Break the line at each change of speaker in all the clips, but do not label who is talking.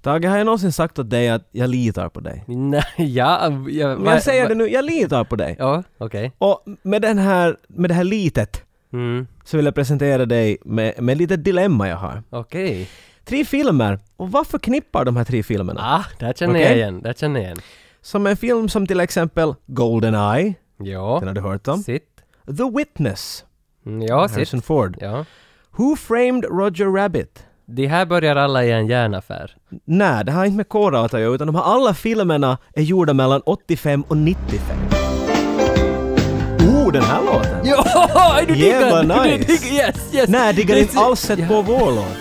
Tage, har jag någonsin sagt åt dig att jag litar på dig?
Nej, ja, jag,
Men jag säger det nu, jag litar på dig!
Ja, okej.
Och med, den här, med det här litet
Mm,
så vill jag presentera dig med, med lite dilemma jag har.
okej.
Tre filmer, och vad förknippar de här tre filmerna?
Ah, där känner jag
Okej.
igen, där känner jag igen.
Som en film som till exempel Goldeneye, den
Ja,
har du hört om.
sitt.
The Witness,
Mm, Ja, sitt.
Harrison Ford.
Ja.
Who Framed Roger Rabbit?
Det här börjar alla i en järnaffär.
Nej, det har inte med kåra att göra, utan de här alla filmerna är gjorda mellan 85 och 95. Oh, den här låten!
Jo, du
Yeah,
diggar
vad
den! Du
nice.
diggar- Yes, yes!
Nej, diggar
Det-
inte alls sett på vår låt.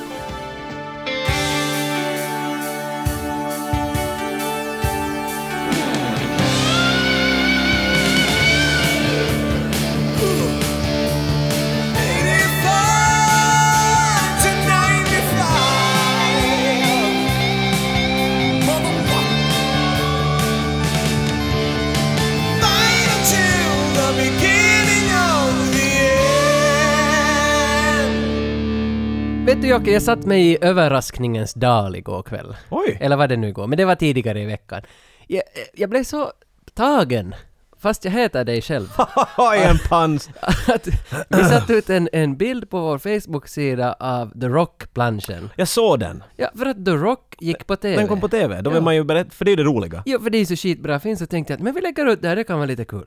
Vet du Jocke, jag satt mig i överraskningens dal igår kväll.
Oj!
Eller vad det nu igår, men det var tidigare i veckan. Jag, jag blev så tagen, fast jag heter dig själv.
Haha, en pans!
Att vi satte ut en, en bild på vår Facebook-sida av The Rock-planschen.
Jag såg den.
Ja, för att The Rock gick på TV.
Den kom på TV. Då vill
Ja.
man ju berätta, för det är det roliga.
Ja, för det är så skitbra film så tänkte jag att men vi lägger ut det här, det kan vara lite kul.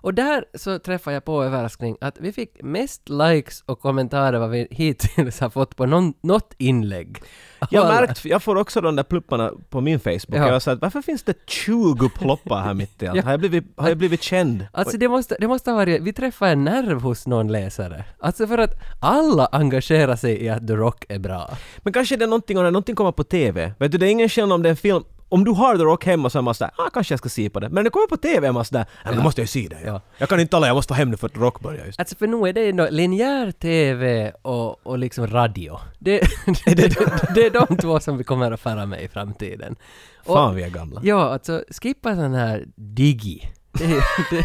Och där så träffade jag på överraskning att vi fick mest likes och kommentarer vad vi hittills har fått på någon, något inlägg.
Jag har
Alla-
märkt, jag får också de där plupparna på min Facebook.
Ja.
Jag sa att varför finns det 20 ploppar här mitt i allt?
Ja.
Har jag blivit, har jag blivit känd?
Alltså det måste, det måste ha varit, vi träffade en nerv hos någon läsare. Alltså för att alla engagerar sig i att The Rock är bra.
Men kanske det är någonting, om det är någonting kommer på TV. Vet du, det är ingen skillnad om det är en film. Om du har The Rock hemma så är man sådär, ah kanske jag ska se på det. Men när det kommer på TV är man sådär, nej men då måste jag ju se det.
Ja.
Ja. Jag kan inte alla, jag måste vara hem nu för att The Rock börjar just.
Alltså för nu är det ändå linjär TV och, och liksom radio. Det, det, det, det är de två som vi kommer att föra med i framtiden. Och-
Fan vi är gamla.
Ja, alltså skippa sån här digi. Det, är- det,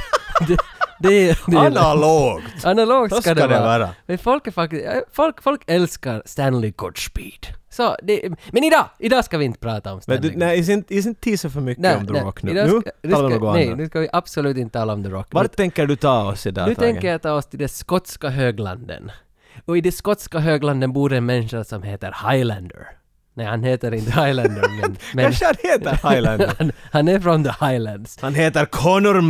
det, det, är- det, är-
Analogt!
analogt ska,
Så
det, vara. Men folk är faktiskt, eh, folk, folk älskar Stanley Godspeed. Så det, men idag, idag ska vi inte prata om
Men
Stanley
du, nej, is inte- is inte tisa för mycket om The Rock nu.
idag
Nu
ska-
talar vi om
ska-
något
Nej,
annat.
nu ska vi absolut inte tala om The Rock.
Vart tänker du ta oss
nu
idag
nu
Tage?
tänker jag ta oss till det skotska höglanden. Och i det skotska höglanden bor en människa som heter Highlander. Nej, han heter inte Highlander, men... men
Kanske han heter Highlander?
han, han är från the Highlands.
Han heter Connor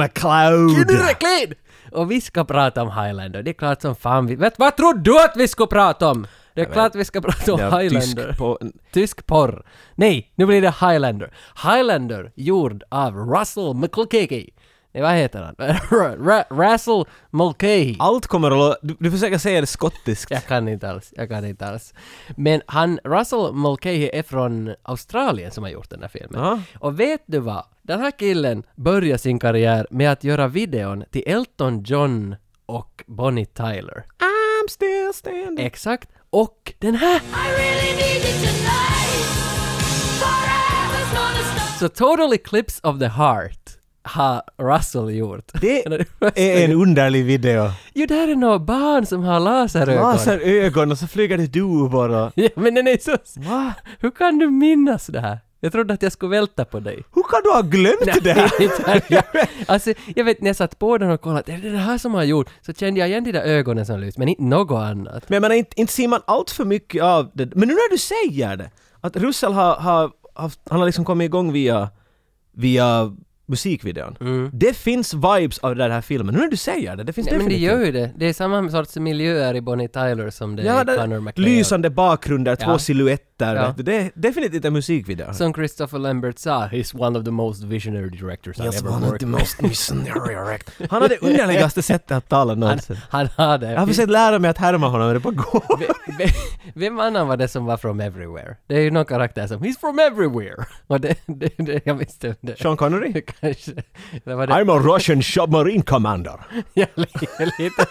McLeod!
Tillräckligt! Och vi ska prata om Highlander, det är klart som fan vi... Vet, vad trodde du att vi skulle prata om? Det är klart vi ska prata om
Ja,
Highlander.
Tysk på...
Tysk porr. Nej, nu blir det Highlander. Highlander, gjord av Russell McCulkey. Nej, vad heter han? Ra- Russell Mulcahy.
Allt kommer att låta... Du, du försöker säga det skottiskt.
Jag kan inte alls, jag kan inte alls. Men han, Russell Mulcahy är från Australien som har gjort den här filmen.
Ja.
Och vet du vad? Den här killen började sin karriär med att göra videon till Elton John och Bonnie Tyler.
I'm still standing.
Exakt. Och den här! Så Total Eclipse of the Heart har Russell gjort.
Det är en underlig video.
Jo, där är några barn som har laserögon.
Laserögon och så flyger det duvor och...
Ja, men den är så...
Va?
Hur kan du minnas det här? Jag trodde att jag skulle välta på dig.
Hur kan du ha glömt det här?
jag, alltså, jag vet när jag satt på den och kollade, är det det här som har gjort? Så kände jag igen de där ögonen som lyste, men inte något annat.
Men jag menar, inte, inte ser man allt för mycket av det. Men nu när du säger det, att Russell har, har haft, han har liksom kommit igång via, via musikvideon. Det finns vibes av den här filmen. Nu när du säger det, det finns
Mm. Nej, men det
definitivt.
gör ju det. Det är samma sorts miljöer i Bonnie Tyler som det
Ja,
är i Connor
det,
McLeod.
lysande bakgrunder, två
Ja.
silhuetter.
Ja.
vet du. Det är definitivt en musikvideo.
Som Christopher Lambert sa, he's one of the most visionary directors I've ever worked with.
Han har det underligaste sättet att tala någonsin.
Han hade...
Jag har försökt lära mig att härma honom, men det bara går.
Ve- ve- Vem annan var det som var from everywhere? Det är ju någon karaktär som “He's from everywhere” och det, det, det jag visste om det.
Sean Connery?
Kanske. Det var det.
I'm a Russian submarine commander.
Ja, li- lite, lite,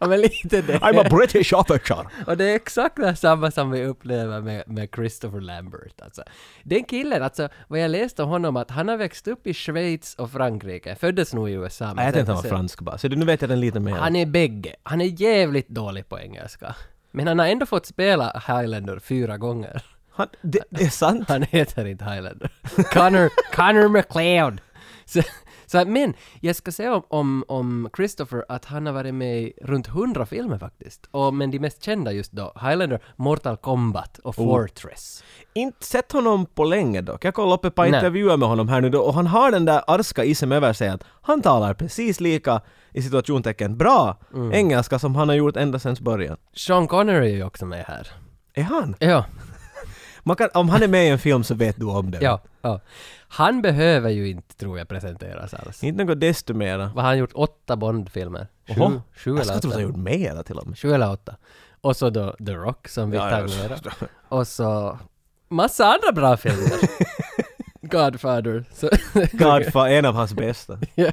ja, men lite det.
I'm a British officer.
Och det är exakt det här samma som vi upplever med, med Christopher Lambert. Alltså. Den killen, alltså, vad jag läste om honom, att han har växt upp i Schweiz och Frankrike. Föddes nog i USA. men
Nej, jag tänkte
sen-
han var
sen-
fransk bara, så nu vet jag den lite mer.
Han är bägge. Han är jävligt dålig på engelska. Men han har ändå fått spela Highlander fyra gånger.
Han, det, det är sant.
Han heter inte Highlander. Connor, Connor McLeod. Så, så, att- men jag ska säga om, om, om Christopher att han har varit med i runt hundra filmer faktiskt. Och, men de mest kända just då, Highlander, Mortal Kombat och
Oh.
Fortress.
Inte sett honom på länge dock. Jag kollade upp ett par
Nej.
intervjuer med honom här nu då och han har den där arska isen över sig att han talar precis lika, i situationstecken, bra
Mm.
engelska som han har gjort ända sedan början.
Sean Connery är ju också med här.
Är han?
Ja,
Man kan, om han är med i en film så vet du om det.
ja, ja. Han behöver ju inte, tror jag, presenteras alls.
Inte något desto mera.
Vad har han gjort? Åtta Bond-filmer? Sju,
Oho.
sju
Jag
eller
skulle tro att han
åtta?
gjort mera till och med.
Sju eller åtta. Och så då The Rock som vi
Ja, ja,
tangerar. Och så massa andra bra filmer. Godfather. Så,
Godfather, en av hans bästa.
Ja.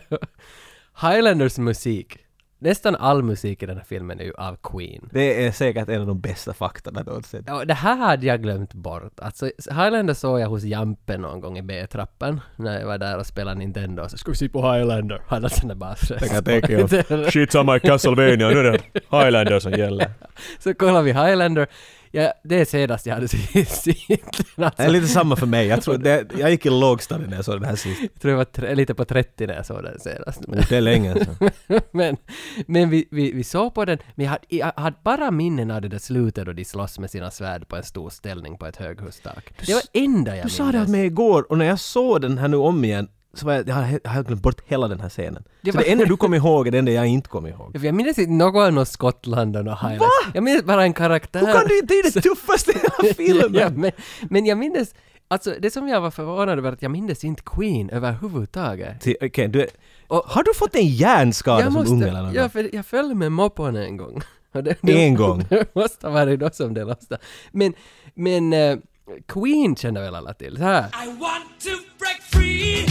Highlanders musik. Nästan all musik i den här filmen är ju av Queen.
Det är säkert en av de bästa faktorna någonsin.
Ja, det här hade jag glömt bort. Alltså, Highlander såg jag hos Jampe någon gång i B-trappan när jag var där och spelade Nintendo. Så ska vi se på Highlander? Han hade sån där basröst.
Skitsamma i Castlevania, nu är det Highlander som gäller.
Så kollar vi Highlander. Ja, det är senast jag hade sett egentligen.
Det är
Alltså,
lite samma för mig. Jag, tror det, jag gick i lågstadiet när jag såg den här sist.
jag tror jag var tre, lite på 30 när jag såg den senast. Men,
Oh, Det är länge sedan.
men, men vi, vi, vi såg på den, men jag hade, jag hade bara minnen av det där slutet då de slåss med sina svärd på en stor ställning på ett höghustak. Det var
s-
enda jag
Du
minns.
sa det åt mig igår och när jag såg den här nu om igen så var jag, jag har- jag har glömt bort hela den här scenen.
Det
Det,
var-
så det enda du kom ihåg är det enda jag inte kom ihåg.
Jag minns inte någon av Skottland och Highland.
Va?
Jag minns bara en karaktär.
Hur kan du inte? Det är det tuffaste i hela filmen!
Ja, men, men jag minns, alltså det som jag var förvånad över att jag minns inte Queen överhuvudtaget.
Till- okej, du är,
Och-
har du fått en hjärnskada som unge eller något?
ja, för jag föll med moppan en gång. Och det-
En gång?
det måste ha varit då som det låste. Men, men eh, Queen känner väl alla till? Så här,
I want to break free.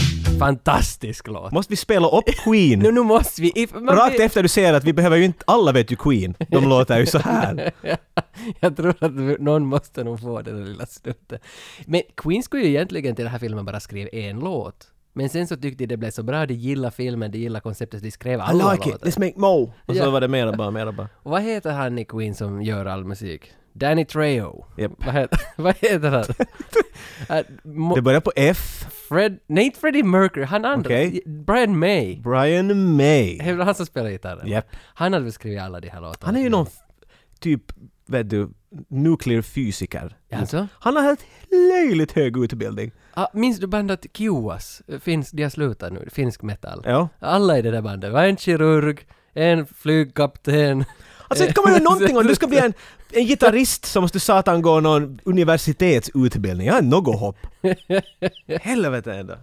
fantastisk låt!
Måste vi spela upp Queen?
Nu, nu måste vi... if- man
Rakt
blir-
efter du säger att vi behöver ju inte, alla vet ju Queen, de låter ju så här.
jag tror att vi- någon måste nog få det där lilla snuttet. Men Queen skulle ju egentligen till den här filmen bara skriva en låt. Men sen så tyckte de det blev så bra, de gillade filmen, de gillade konceptet, de skrev
I
alla
like it,
låtar.
let's make more! Och så
Ja.
var det mera bara, mera bara.
Och vad heter han i Queen som gör all musik? Danny Trejo.
Japp.
Vad, heter, vad heter han? Att Mo-
Det börjar på F,
Fred, nej inte Freddie Mercury, han andra.
Okej.
Brian May.
Brian May.
Det är väl han som spelar gitarren?
Japp.
Han hade väl skrivit alla de här låtarna?
Han är ju någon f- typ, vet du, nuclear fysiker.
Alltså?
Han har helt löjligt hög utbildning.
Ah, minns du bandet Kiowas? Eh, Finns, de har slutat nu, finsk metal.
Ja.
Alla i det där bandet, var en kirurg, en flygkapten.
Alltså inte kommer du någonting om du ska bli en, en gitarrist så måste du satan gå någon universitetsutbildning. Jag har något hopp. Helvete ändå.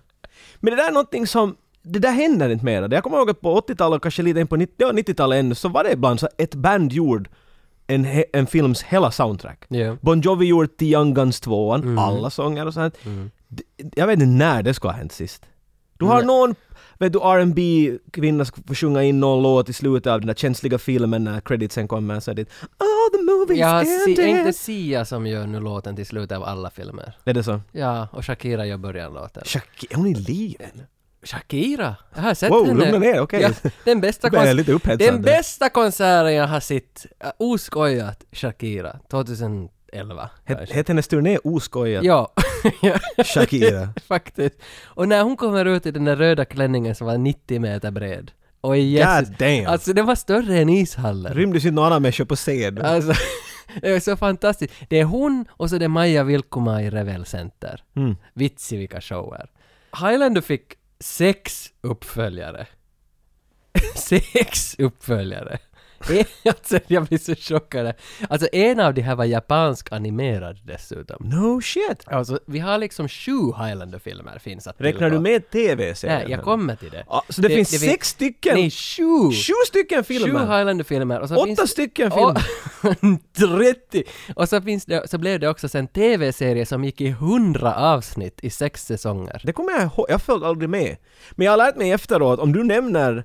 Men det där är någonting som det där händer inte mera. Jag kommer ihåg att på 80-talet och kanske lite in på 90 ja, 90-talet ännu så var det ibland så att ett band gjorde en, he- en films hela soundtrack.
Ja.
Bon Jovi gjorde till Young Guns 2
Mm.
alla sånger och sånt. D- Jag vet inte när det ska ha hänt sist. Du har
Nej.
någon, vet du, R&B kvinna ska få sjunga in någon låt i slutet av den där känsliga filmen när creditsen kommer så är det Oh the movie's
Ja, si, är
ended!
inte Sia som gör nu låten till slutet av alla filmer?
Är det så?
Ja, och Shakira gör början-låten.
Shakira, är hon i liv än?
Shakira? Jag har sett
Wow,
henne.
lugna ner, okej.
den bästa
Du blir
kons-
lite upphetsad
Den
där.
bästa konserten jag har sett, äh, oskojat, Shakira, 2011.
Het- Hette hennes turné Oskoja?
Ja, ja,
Shakira.
faktiskt. Och när hon kommer ut i den där röda klänningen som var 90 meter bred. Och
God
yes,
damn!
alltså den var större än ishallen.
Rymdes inte någon annan människa på scen?
Alltså, det är så fantastiskt. Det är hon och så det är Maja Vilkuma i Revel Center.
Mm.
Vitsi vilka shower. Highlander fick sex uppföljare. sex uppföljare. En- alltså, jag blir så chockad. Alltså en av de här var japansk animerad dessutom.
No shit!
Alltså vi har liksom sju Highlander-filmer finns att
Räknar du
tillgå.
med tv-serien?
Nej, jag kommer till det.
Ja, så det, finns sex stycken?
Nej, sju!
Sju stycken
Sju
filmer?
Highlander-filmer. och så
Åtta
finns-
stycken filmer?
Och, 30! Och så, finns det, så blev det också sen TV-serie som gick i 100 avsnitt i sex säsonger.
Det kommer jag ihåg, jag följde aldrig med. Men jag har lärt mig efteråt, om du nämner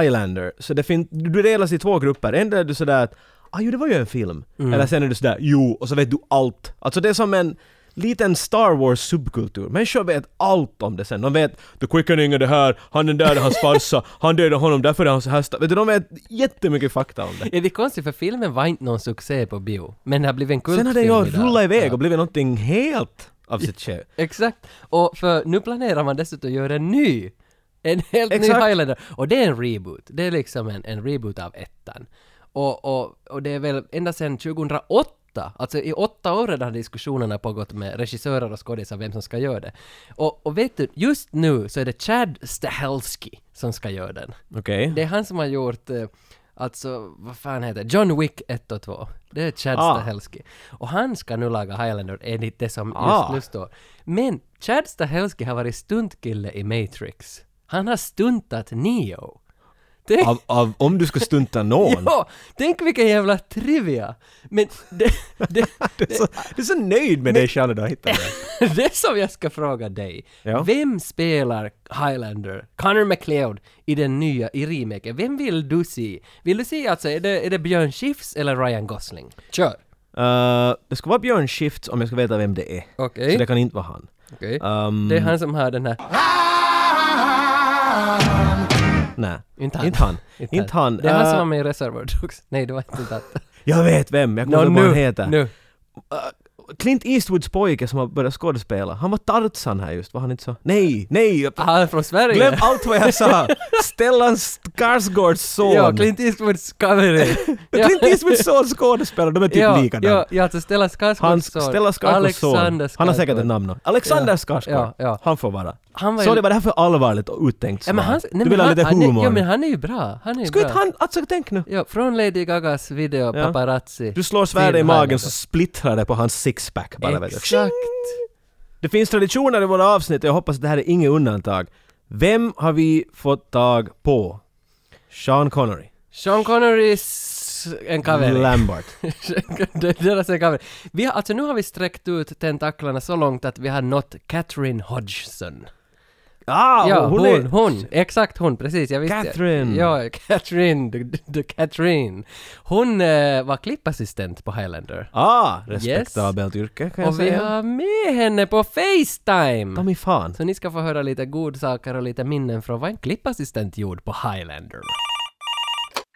Highlander, så det finns, du delas i två grupper. En där är du sådär att ah, jo, det var ju en film. Eller sen är du sådär, jo, och så vet du allt. Alltså det är som en liten Star Wars subkultur. Människor vet allt om det sen. De vet the quickening är det här, han den där är hans farsa, han dödade honom därför är han så här sta-" Vet du, de vet jättemycket fakta om det.
Ja, det är konstigt för filmen var inte någon succé på bio, men det har blivit en kultfilm
Sen har den ju
idag.
rullat iväg
Ja.
och blivit någonting helt av sitt själv.
Exakt! Och för nu planerar man dessutom göra en ny! En helt ny
Exakt.
Highlander. Och det är en reboot. Det är liksom en, en reboot av ettan. Och, och, och det är väl ända sedan 2008 Alltså i åtta år redan har diskussionerna pågått med regissörer och skådisar vem som ska göra det. Och, och vet du, just nu så är det Chad Stahelski som ska göra den.
Okej.
Det är han som har gjort, eh, alltså vad fan heter det? John Wick 1 och 2. Det är Chad
Ah.
Stahelski. Och han ska nu laga Highlander enligt det som
Ah.
just nu står. Men Chad Stahelski har varit stuntkille i Matrix. Han har stuntat Neo. Tänk,
Av, av, om du skulle stunta någon.
ja, tänk vilken jävla trivia! Men det, det,
Du är, så, du är så nöjd med dig själv när du hittar det.
det som jag ska fråga dig.
Ja.
Vem spelar Highlander, Connor McLeod, i den nya, i remaken? Vem vill du se? Vill du se alltså, är det, är det Björn Skifs eller Ryan Gosling? Kör!
Eh, det ska vara Björn Skifs om jag ska veta vem det är.
Okej.
Så det kan inte vara han.
Okej.
Ehm,
Det är han som har den här...
Nej,
Inte han.
Inte han. Inte han.
Det är han
Eh,
som var med i Reservoir Dogs. Nej, det var inte han.
Jag vet vem, jag kommer
Nå,
inte ihåg vad han heter.
nu.
Clint Eastwoods pojke som har börjat skådespela, han var Tarzan här just, var han inte så? Nej, nej! jag-
Ah, Han är från Sverige.
Glöm allt vad jag sa! Stellan Skarsgårds son!
Ja, Clint Eastwoods cover.
Men Clint Eastwoods son skådespelare, de är typ
ja,
likadana.
ja, ja, alltså Stellan
Han,
Skarsgårds son.
Stellan Skarsgårds son.
Alexander
Han har säkert
Skarsgård.
ett namn då. Alexander
Ja,
Skarsgård.
ja, ja.
Han får vara.
Han var
Så
ju-
det var det här för allvarligt och uttänkt
Ja, men
svar.
han, nej,
Du
men
vill ha
han,
lite
han är-
humor.
Ja, men han är ju bra. Han är ju
Skulle
bra.
inte han, alltså tänk nu.
Ja, från Lady Gagas video
Ja.
Paparazzi.
Du slår svärdet i
till
magen
Highlander.
så splittrar det på hans sixpack bara vet du.
Exakt.
Det finns traditioner i våra avsnitt och jag hoppas att det här är inget undantag. Vem har vi fått tag på? Sean Connery.
Sean Connerys en cover.
Lambert.
Det- Deras en cover. Vi har, alltså nu har vi sträckt ut tentaklarna så långt att vi har nått Catherine Hodgson.
Ah,
ja,
hon,
hon,
är...
hon, Exakt hon, precis. Jag visste.
Catherine.
Ja, Catherine. The, the Catherine. Hon eh, var klippassistent på Highlander.
Ah, respektabelt yrke kan jag
Och vi
säga.
har med henne på Facetime!
Ta mig fan.
Så ni ska få höra lite godsaker och lite minnen från vad en klippassistent gjorde på Highlander.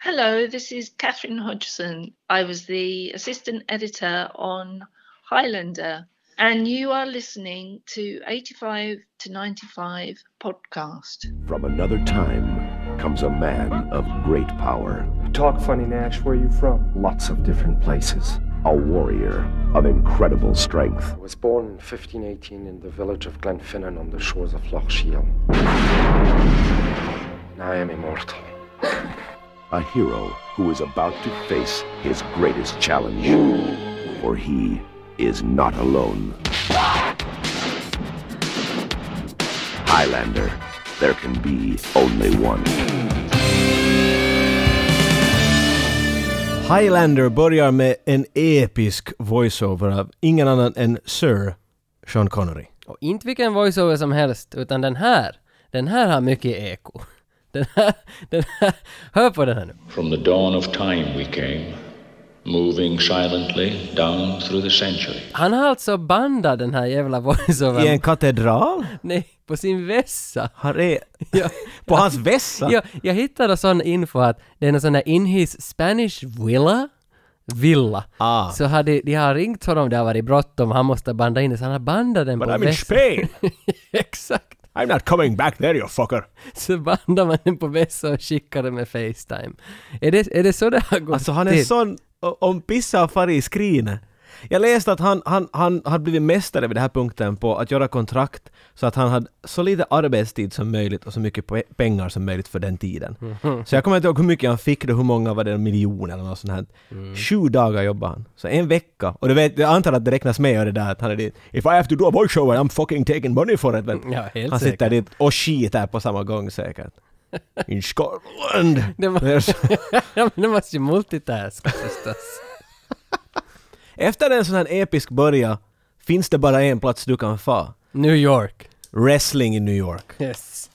Hello, this is Catherine Hodgson. I was the assistant editor on Highlander, and you are listening to 85 to 95 podcast.
From another time comes a man of great power,
Talk funny, Nash. Where are you from?
lots of different places, a warrior of incredible strength.
I was born in 1518 in the village of Glenfinnan on the shores of Loch Shiel. I am immortal.
A hero who is about to face his greatest challenge. For he is not alone. Highlander, there can be only one.
Highlander börjar med en episk voiceover av ingen annan än Sir Sean Connery.
Och inte vilken voiceover som helst, utan den här. Den här har mycket eko. Den här, den här. Hör på den här nu.
From the dawn of time we came, moving silently down through the century.
Han har alltså bandat den här jävla
I
voiceovern.
en katedral?
Nej, på sin vässa.
Här är...
Ja.
På hans vässa?
Ja, jag hittade sån info att det är någon sån där in his Spanish villa villa.
Ah.
Så hade, de har ringt honom, det har varit bråttom, han måste banda in det, så han har bandat den
But
på
I'm in
vässan.
Spain!
Exakt.
I'm not coming back there you fucker!
så bandar man den på vässa och skickar den med Facetime. Är det, är det så det har gått
Alltså han är
till?
sån, o- om pissa och far i skrinet. Jag läste att han, han, han hade blivit mästare vid den här punkten på att göra kontrakt så att han hade så lite arbetstid som möjligt och så mycket pe- pengar som möjligt för den tiden.
Mm.
Så jag kommer inte ihåg hur mycket han fick då, hur många var det, miljoner eller något sånt här.
Mm.
Sju dagar jobbade han. Så en vecka. Och du vet, jag antar att det räknas med det där att han är dit. If I have to do a voiceover I'm fucking taking money for it. Men
Ja, helt
han sitter
säkert.
dit och skiter på samma gång säkert. In Scotland!
Det var-
Det är så-
ja, men det måste ju multitaska förstås.
Efter en sån här episk börja finns det bara en plats du kan få.
New York.
Wrestling i New York.
Yes.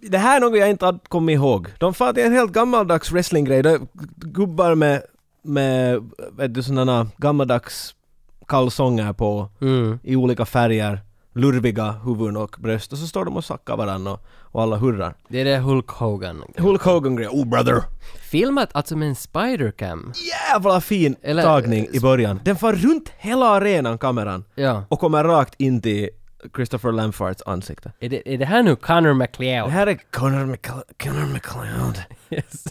Det här är något jag inte hade kommit ihåg. De far till en helt gammaldags wrestlinggrej. Det är Gubbar med, med vet du, sådana gammaldags kalsonger på
Mm.
i olika färger, lurviga huvuden och bröst och så står de och sackar varandra och, och alla hurrar.
Det är det Hulk Hogan.
Hulk Hogan-grejen, oh brother!
Filmat alltså med en spidercam.
Jävla fin
Eller-
tagning i början. Den far runt hela arenan, kameran,
Ja.
och kommer rakt in till Christopher Lamfarts ansikte.
Är det, är det här nu Connor
Det
McLeod?
här är Connor, McCl- Connor McLeod.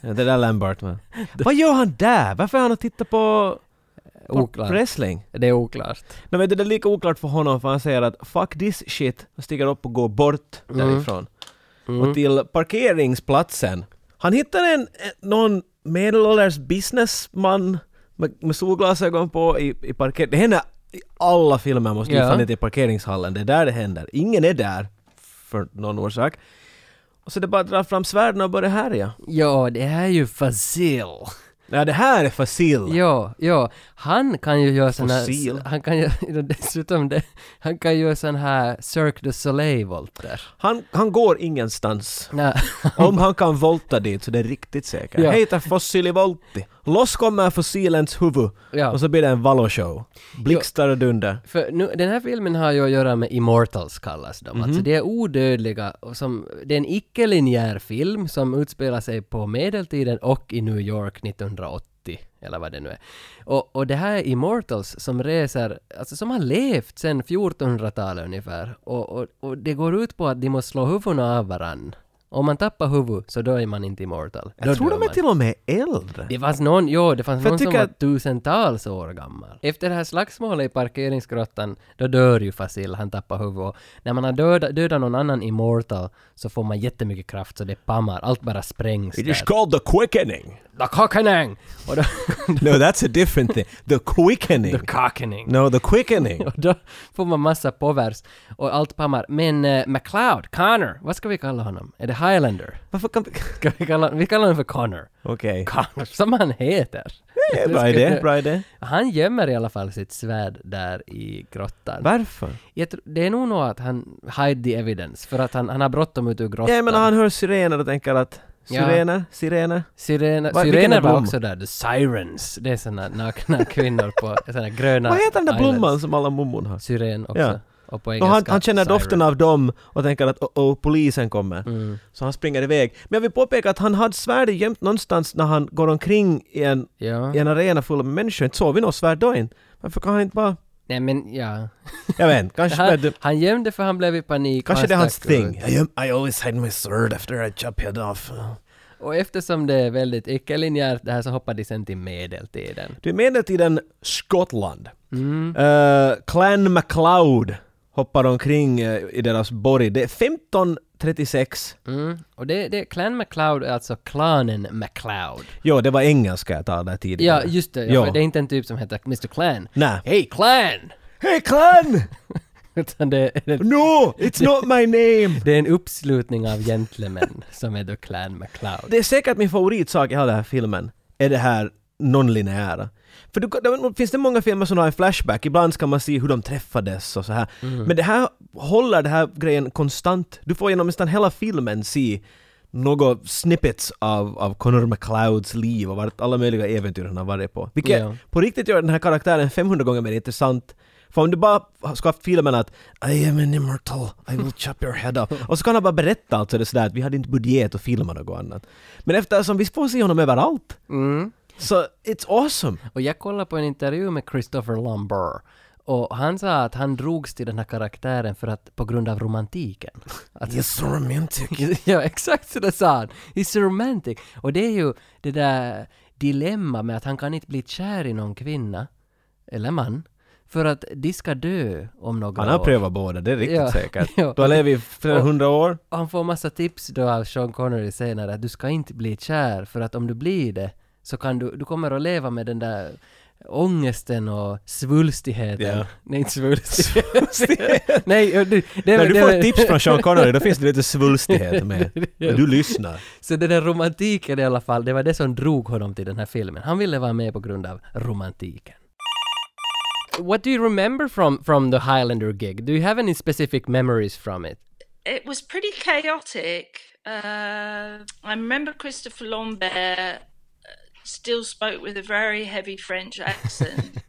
Ja, det där Lambert va. Vad gör han där? Varför är han och tittar på, på
Oklart.
wrestling?
Det är oklart.
Nej men det där är lika oklart för honom för han säger att “fuck this shit” och stiger upp och går bort
Mm.
därifrån. Och till parkeringsplatsen. Han hittar en, en- någon medelålders businessman med, med solglasögon på i, i parkeringen. Det händer i alla filmer måste
Ja.
ja. fan inte i parkeringshallen. Det är där det händer. Ingen är där för någon orsak. Och så det är bara att dra fram svärden och börja härja.
Ja, det här är ju Fazil.
Ja det här är Fasil!
Ja, ja. Han kan ju göra sån
Fossil.
här... Han kan ju... Dessutom det... Han kan göra sån här Cirque du Soleil-volter.
Han, han går ingenstans.
Nej.
Om han kan volta dit så det är riktigt säkert.
Ja.
Ja. Heter Fossili Volti. Loss kommer fossilens huvud.
Ja.
Och så blir det en valloshow. Blixtar och dunder.
För nu, den här filmen har ju att göra med Immortals kallas de.
Mhm.
Alltså det är odödliga och som, det är en icke-linjär film som utspelar sig på medeltiden och i New York 1980 eller vad det nu är. Och, och det här är Immortals som reser, alltså som har levt sedan 1400-talet ungefär. Och, och, och det går ut på att de måste slå huvudena av varann. Om man tappar huvud så då är man inte immortal. Då
Jag tror
dör
de är
man.
till och med äldre.
Det fanns någon, jo, det fanns
För jag
någon som
tycker
var
att-
tusentals år gammal. Efter det här slagsmålet i parkeringsgrottan, då dör ju Fasil, han tappar huvudet. När man har dödat, dödat någon annan immortal så får man jättemycket kraft så det pammar, allt bara sprängs
It
där.
is called the quickening.
The cockening! Och då,
No that's a different thing. The quickening.
the cockening!
No the quickening.
Och då får man massa påvers och allt pammar. Men eh, McLeod, Connor, vad ska vi kalla honom? Är det Highlander?
Varför kan vi...
Ska vi, kalla, vi kallar honom för Connor.
Okej.
Connor, som han heter.
Eh, Bra idé, bra idé.
Han gömmer i alla fall sitt svärd där i grottan.
Varför?
Jag tror, det är nog nog att han hide the evidence, för att han, han har bråttom ut ur grottan.
Ja men han hör sirener och tänker att...
Ja.
Sirener? Sirener?
Sirena,
Va- vilken
sirener
är
var
blom?
också där, the sirens. Det är såna nakna kvinnor på såna gröna
Vad heter den där
islands.
blomman som alla mummon har?
Siren också.
Ja.
Och på
Och
engelska,
han, han känner
siren. Mm.
doften av dem och tänker att oh, oh, polisen kommer. Så han springer iväg. Men jag vill påpeka att han hade svärdet gömt någonstans när han går omkring i en,
Ja.
i en arena full av människor. Inte såg vi något svärd då inte. Varför kan han inte bara...
Nej men ja.
Jag vet inte, kanske,
Han,
det,
han gömde för han blev i panik. och
kanske
han
det är hans
stack ut.
thing. I, am- I always hide my sword after I chop head off.
Och eftersom det är väldigt icke-linjärt det här så hoppade de sen till medeltiden.
Du är medeltiden Skottland. Mm. Clan MacLeod hoppar omkring eh, i deras borg. Det är 1536.
Mm. Och det, det, Clan MacLeod är alltså klanen MacLeod.
Jo, det var engelska jag talade tidigare.
Ja, just det. Ja,
Jo.
För det är inte en typ som heter Mr. Clan.
Nej.
Hey Clan!
Hey Clan!
Utan det, det,
No! It's not my name!
det är en uppslutning av gentlemän som är då Clan MacLeod.
Det är säkert min favoritsak i hela den här filmen, är det här non-linjära. För du, det finns det många filmer som har en flashback, ibland ska man se hur de träffades och så här. Men det här håller den här grejen konstant. Du får genom nästan hela filmen se några snippets av, av Connor McLeods liv och vart alla möjliga äventyr han har varit på. Vilket
Ja.
på riktigt gör den här karaktären 500 gånger mer intressant. För om du bara ska haft filmen att I am an immortal, I will chop your head off. Och så kan han bara berätta allt sådär sådär att vi hade inte budget att filma något annat. Men eftersom vi får se honom överallt,
Mm.
så it's awesome!
Och jag kollade på en intervju med Christopher Lambert. Och han sa att han drogs till den här karaktären för att, på grund av romantiken. Att,
It's so romantic.
ja, exakt så det sa han. He's romantic. Och det är ju det där dilemma med att han kan inte bli kär i någon kvinna, eller man, för att de ska dö om några
Han har
år.
prövat båda, det är riktigt
Ja,
säkert.
ja.
Du har levt i flera hundra år.
Och han får massa tips då av Sean Connery senare att du ska inte bli kär för att om du blir det så kan du, du kommer att leva med den där ångesten och svulstigheten.
Ja.
Nej, inte svulstighet. Nej, och du, det,
När du
det,
får tips från Sean Connery, då finns det lite svulstighet med. Men du lyssnar.
Så den där romantiken i alla fall, det var det som drog honom till den här filmen. Han ville vara med på grund av romantiken. What do you remember from, from the Highlander gig? Do you have any specific memories from it?
It was pretty chaotic. Uh, I remember Christopher Lambert uh, still spoke with a very heavy French accent.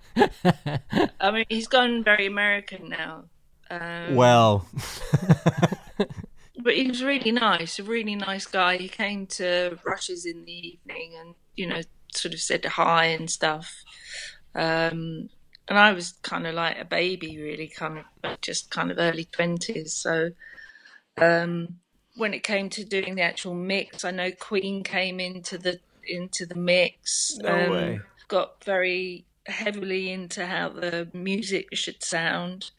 I mean, he's gone very American now. Um,
Well,
but he was really nice, a really nice guy. He came to rushes in the evening and, you know, sort of said hi and stuff. Um, and I was kind of like a baby, really, kind of just kind of early 20s. So um, when it came to doing the actual mix, I know Queen came into the into the mix. No
way.
Got very heavily into how the music should sound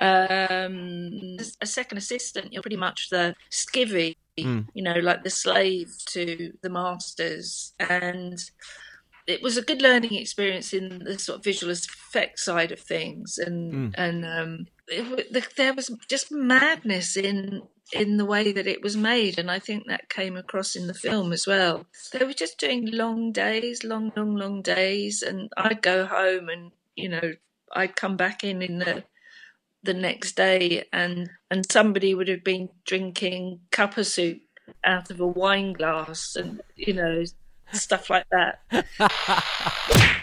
um, as a second assistant, you're pretty much the skivvy, you know, like the slave to the masters. And it was a good learning experience in the sort of visual effects side of things, and and um, it, w- the, there was just madness in in the way that it was made, and I think that came across in the film as well. They were just doing long days, long, long, long days, and I'd go home and you know I'd come back in in the the next day and and somebody would have been drinking cuppa soup out of a wine glass and you know stuff like that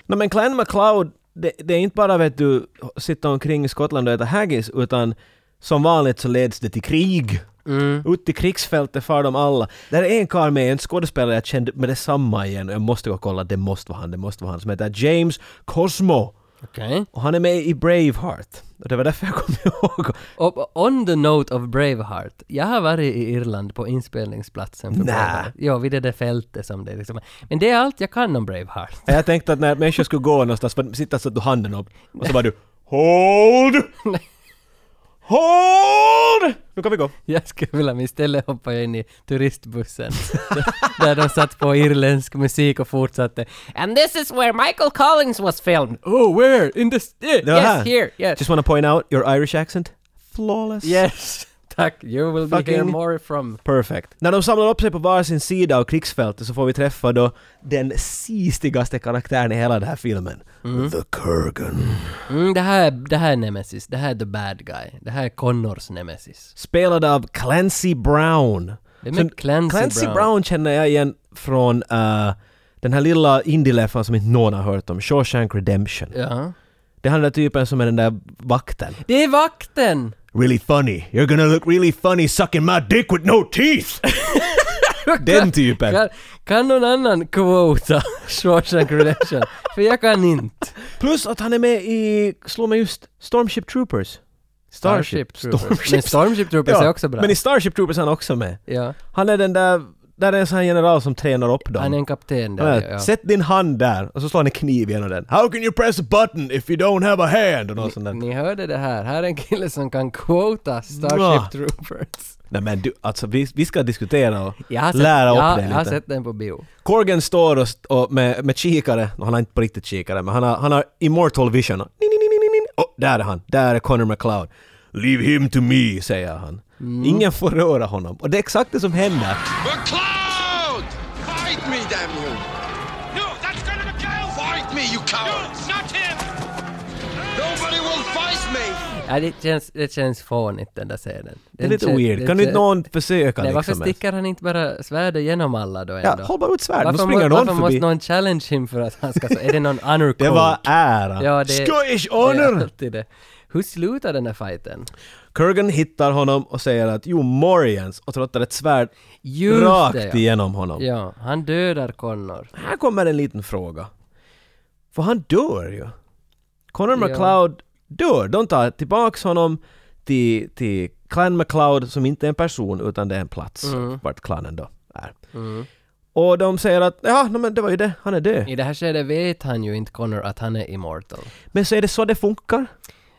No, men Clan MacLeod, det, det är inte bara vet du, sitta omkring i Skottland och äta haggis, utan som vanligt så leds det till krig. Ut i krigsfältet far de alla. Där är en karl med, en skådespelare jag kände med detsamma igen, jag måste gå och kolla, det måste vara han, det måste vara han, som heter James Cosmo.
Okej.
Och han är med i Braveheart. Och det var därför jag kom ihåg.
Och on the note of Braveheart. Jag har varit i Irland på inspelningsplatsen för
Nä.
Braveheart. Ja, vid det där fältet som det är liksom. Men det är allt jag kan om Braveheart.
Jag tänkte att när människor skulle gå någonstans, för sitta så att du handen upp, och så var du HOLD! HOLD! Nu kan vi gå.
Jag skulle vilja, men istället hoppa jag in i turistbussen. där de satt på irländsk musik och fortsatte. And this is where Michael Collins was filmed. Oh, where? In the... st- eh,
Det var här.
yes, here. Yes.
Just wanna point out, your Irish accent, flawless.
Yes. Tack. You will be here
Fucking-
more from...
Perfect. När de samlar upp sig på varsin sida av krigsfältet så får vi träffa då uh, den sistigaste karaktären i hela den här filmen.
Mm-hmm.
The Kurgan.
Mm, det, här, det här är Nemesis. Det här är the bad guy. Det här är Connors Nemesis.
Spelad av Clancy Brown.
Vem är
Så
Clancy Brown?
Brown känner jag igen från eh, den här lilla indie-läffan som inte någon har hört om, Shawshank Redemption.
Ja.
Det är han den där typen som är den där vakten.
Det är vakten!
Really funny. You're gonna look really funny sucking my dick with no teeth! den typen.
Kan, kan någon annan quota Shawshank Redemption? För jag kan inte.
Plus att han är med i, slå mig just, Stormship Troopers.
Starship Troopers. Men
Stormship,
Stormship Troopers är också bra.
Men i Starship Troopers är han också med.
Ja.
Han är den där, där är en sån här general som tränar upp dem.
Han är en kapten
Han
där.
är,
Ja.
Sätt din hand där och så slår han en kniv genom den. How can you press a button if you don't have a hand? Och något sånt där.
Ni hörde det här. Här är en kille som kan quota Starship
Mwah.
Troopers.
Nej men du, alltså vi, vi ska diskutera och
Jag har sett,
lära
jag,
upp
har-
dig
Jag har
lite.
sett den på bio.
Corgan står och, st- och med, med kikare, och han har inte på riktigt kikare, men han har, han har immortal vision. Och, ni, ni, ni, ni, ni, ni. och där är han, där är Connor McLeod. Leave him to me, säger han.
Mm.
Ingen får röra honom. Och det är exakt det som händer.
McLeod! Fight me, damn you! No, that's gonna McLeod! Fight me, you coward! No, not him! Nobody will fight me!
Ja, det, känns, det känns fånigt den där scenen.
Det är lite weird. Kan inte någon försöka
Nej, varför
liksom? ens?
stickar han inte bara svärdet genom alla då
Ja,
ändå?
håll bara ut svärd, nu
varför
springer
må,
någon
varför måste
förbi.
någon challenge him för att han ska... Så, är det någon honor
Det
code?
var ära.
Ja, det-
Scottish
Det är
honor!
alltid det. Hur slutar den här fighten?
Kurgan hittar honom och säger att you Morians och trottar ett svärd
Just
rakt
det, ja.
igenom honom.
Ja, han dödar Connor.
Här kommer en liten fråga. För han dör ju. Connor
Ja.
McLeod dör. De tar tillbaks honom till, till Clan McLeod som inte är en person utan det är en plats
Mm.
vart klanen då är. Och de säger att ja, no, men det var ju det, han är död.
I det här skedet vet han ju inte Connor att han är immortal.
Men så är det så det funkar.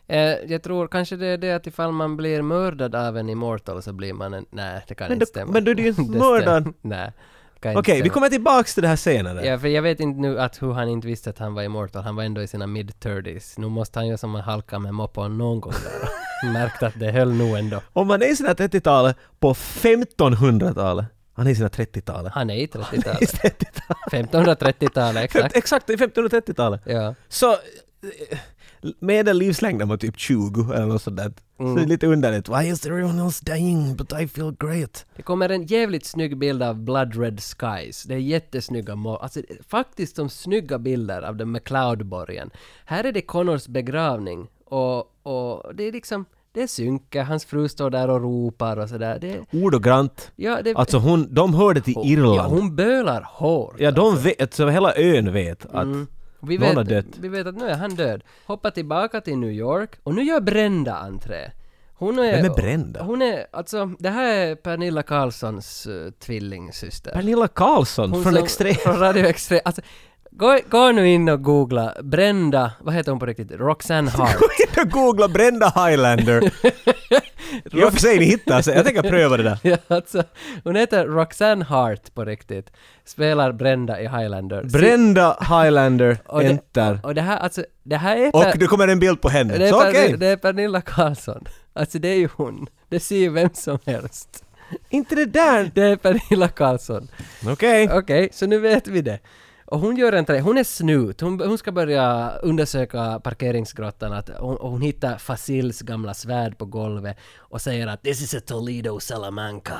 Eh, jag tror kanske det är det att ifall man blir mördad av en immortal så blir man en... Nej, det kan
Men
inte
då-
stämma.
men då är du ju
Det stäm-
mördad.
Nej. det kan inte
Okej, vi
stämma.
kommer tillbaks till det här senare.
Ja, för jag vet inte nu att hur han inte visste att han var immortal. Han var ändå i sina mid-30s. Nu måste han ju som en halka med moppen någon gång där. Märkte att det höll nog ändå.
Om man är i sina 30-talet på 1500-talet. Han är i sina 30-talet.
Han är i
I
30-talet.
30-talet.
1530-talet, exakt.
Exakt, i 1530-talet.
Ja.
Så eh, medellivslängden var typ 20 eller något sånt där. Så
Mm.
det är lite underligt. Why is everyone else dying but I feel great?
Det kommer en jävligt snygg bild av Blood Red Skies. Det är jättesnygga mål. Alltså det är faktiskt de snygga bilder av den McLeodborgen. Här är det Connors begravning och, och det är liksom, det är synke, hans fru står där och ropar och sådär. Det,
Ordagrant.
ja, det,
Alltså hon, de hörde till Irland.
Ja, hon alltså- bölar hårt.
Ja, de vet, så hela ön vet att...
Mm. Vi
Någon har
vet,
dött.
vi vet att nu är han död. Hoppa tillbaka till New York och nu gör Brenda entré. Hon är,
Vem är Brenda?
Hon är, alltså, det här är Pernilla Carlssons eh, tvillingsyster.
Pernilla Karlsson
Hon
från
som-
Extrem.
Från Radio Extrem. Alltså, gå, gå nu in och googla Brenda, vad heter hon på riktigt? Roxanne Hart.
Jag googlar Brenda Highlander. jag får se ni hittar sig. Jag tänker pröva det där.
ja, alltså, hon heter Roxanne Hart på riktigt. Spelar Brenda i Highlander. Si-
Brända Highlander,
och det-
enter.
Och det här, alltså, det här är...
Och
Per-
det kommer en bild på
det,
henne.
är
Så
Per-
okej.
det är Pernilla Karlsson. Alltså det är ju hon. Det ser ju vem som helst.
Inte det där.
Det är Pernilla Karlsson.
Okej.
Okej, så nu vet vi det. Och hon gör en tre, hon är snut, hon, hon ska börja undersöka parkeringsgrottan att, och, och hon hittar Fasils gamla svärd på golvet och säger att “This is a Toledo Salamanca”.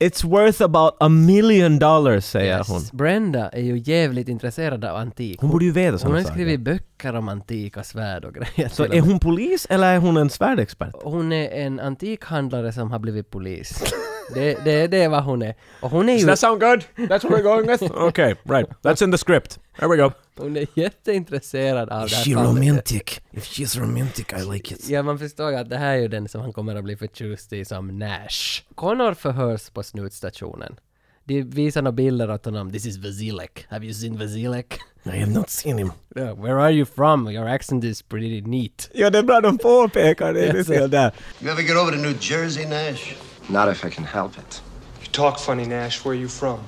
It's worth about a million dollars, säger hon.
Brenda är ju jävligt intresserad av antik.
Hon borde ju veta
Hon
sådana
har
saker.
skrivit böcker om antika svärd och grejer.
Så är hon polis eller är hon en svärdexpert?
hon är en antikhandlare som har blivit polis. det, det, det är vad hon är. Och hon är ju...
sound good? That's what we're going with? Okej, right. That's in the script. Here we go.
Hon är jätteintresserad av det
Is
här
she
fallet.
romantic? If she's romantic I like it.
Ja, man förstår ju att det här är ju den som han kommer att bli förtjust i som Nash. Connor förhörs på snutstationen. De visar några bilder åt honom. This is Vasilek. Have you seen Vasilek?
I have not seen him.
Yeah, Where are you from? Your accent is pretty neat.
Ja, det är bra de påpekar det. Det ser där.
You ever get over to New Jersey, Nash?
Not if I can help it.
You talk funny, Nash. Where are you from?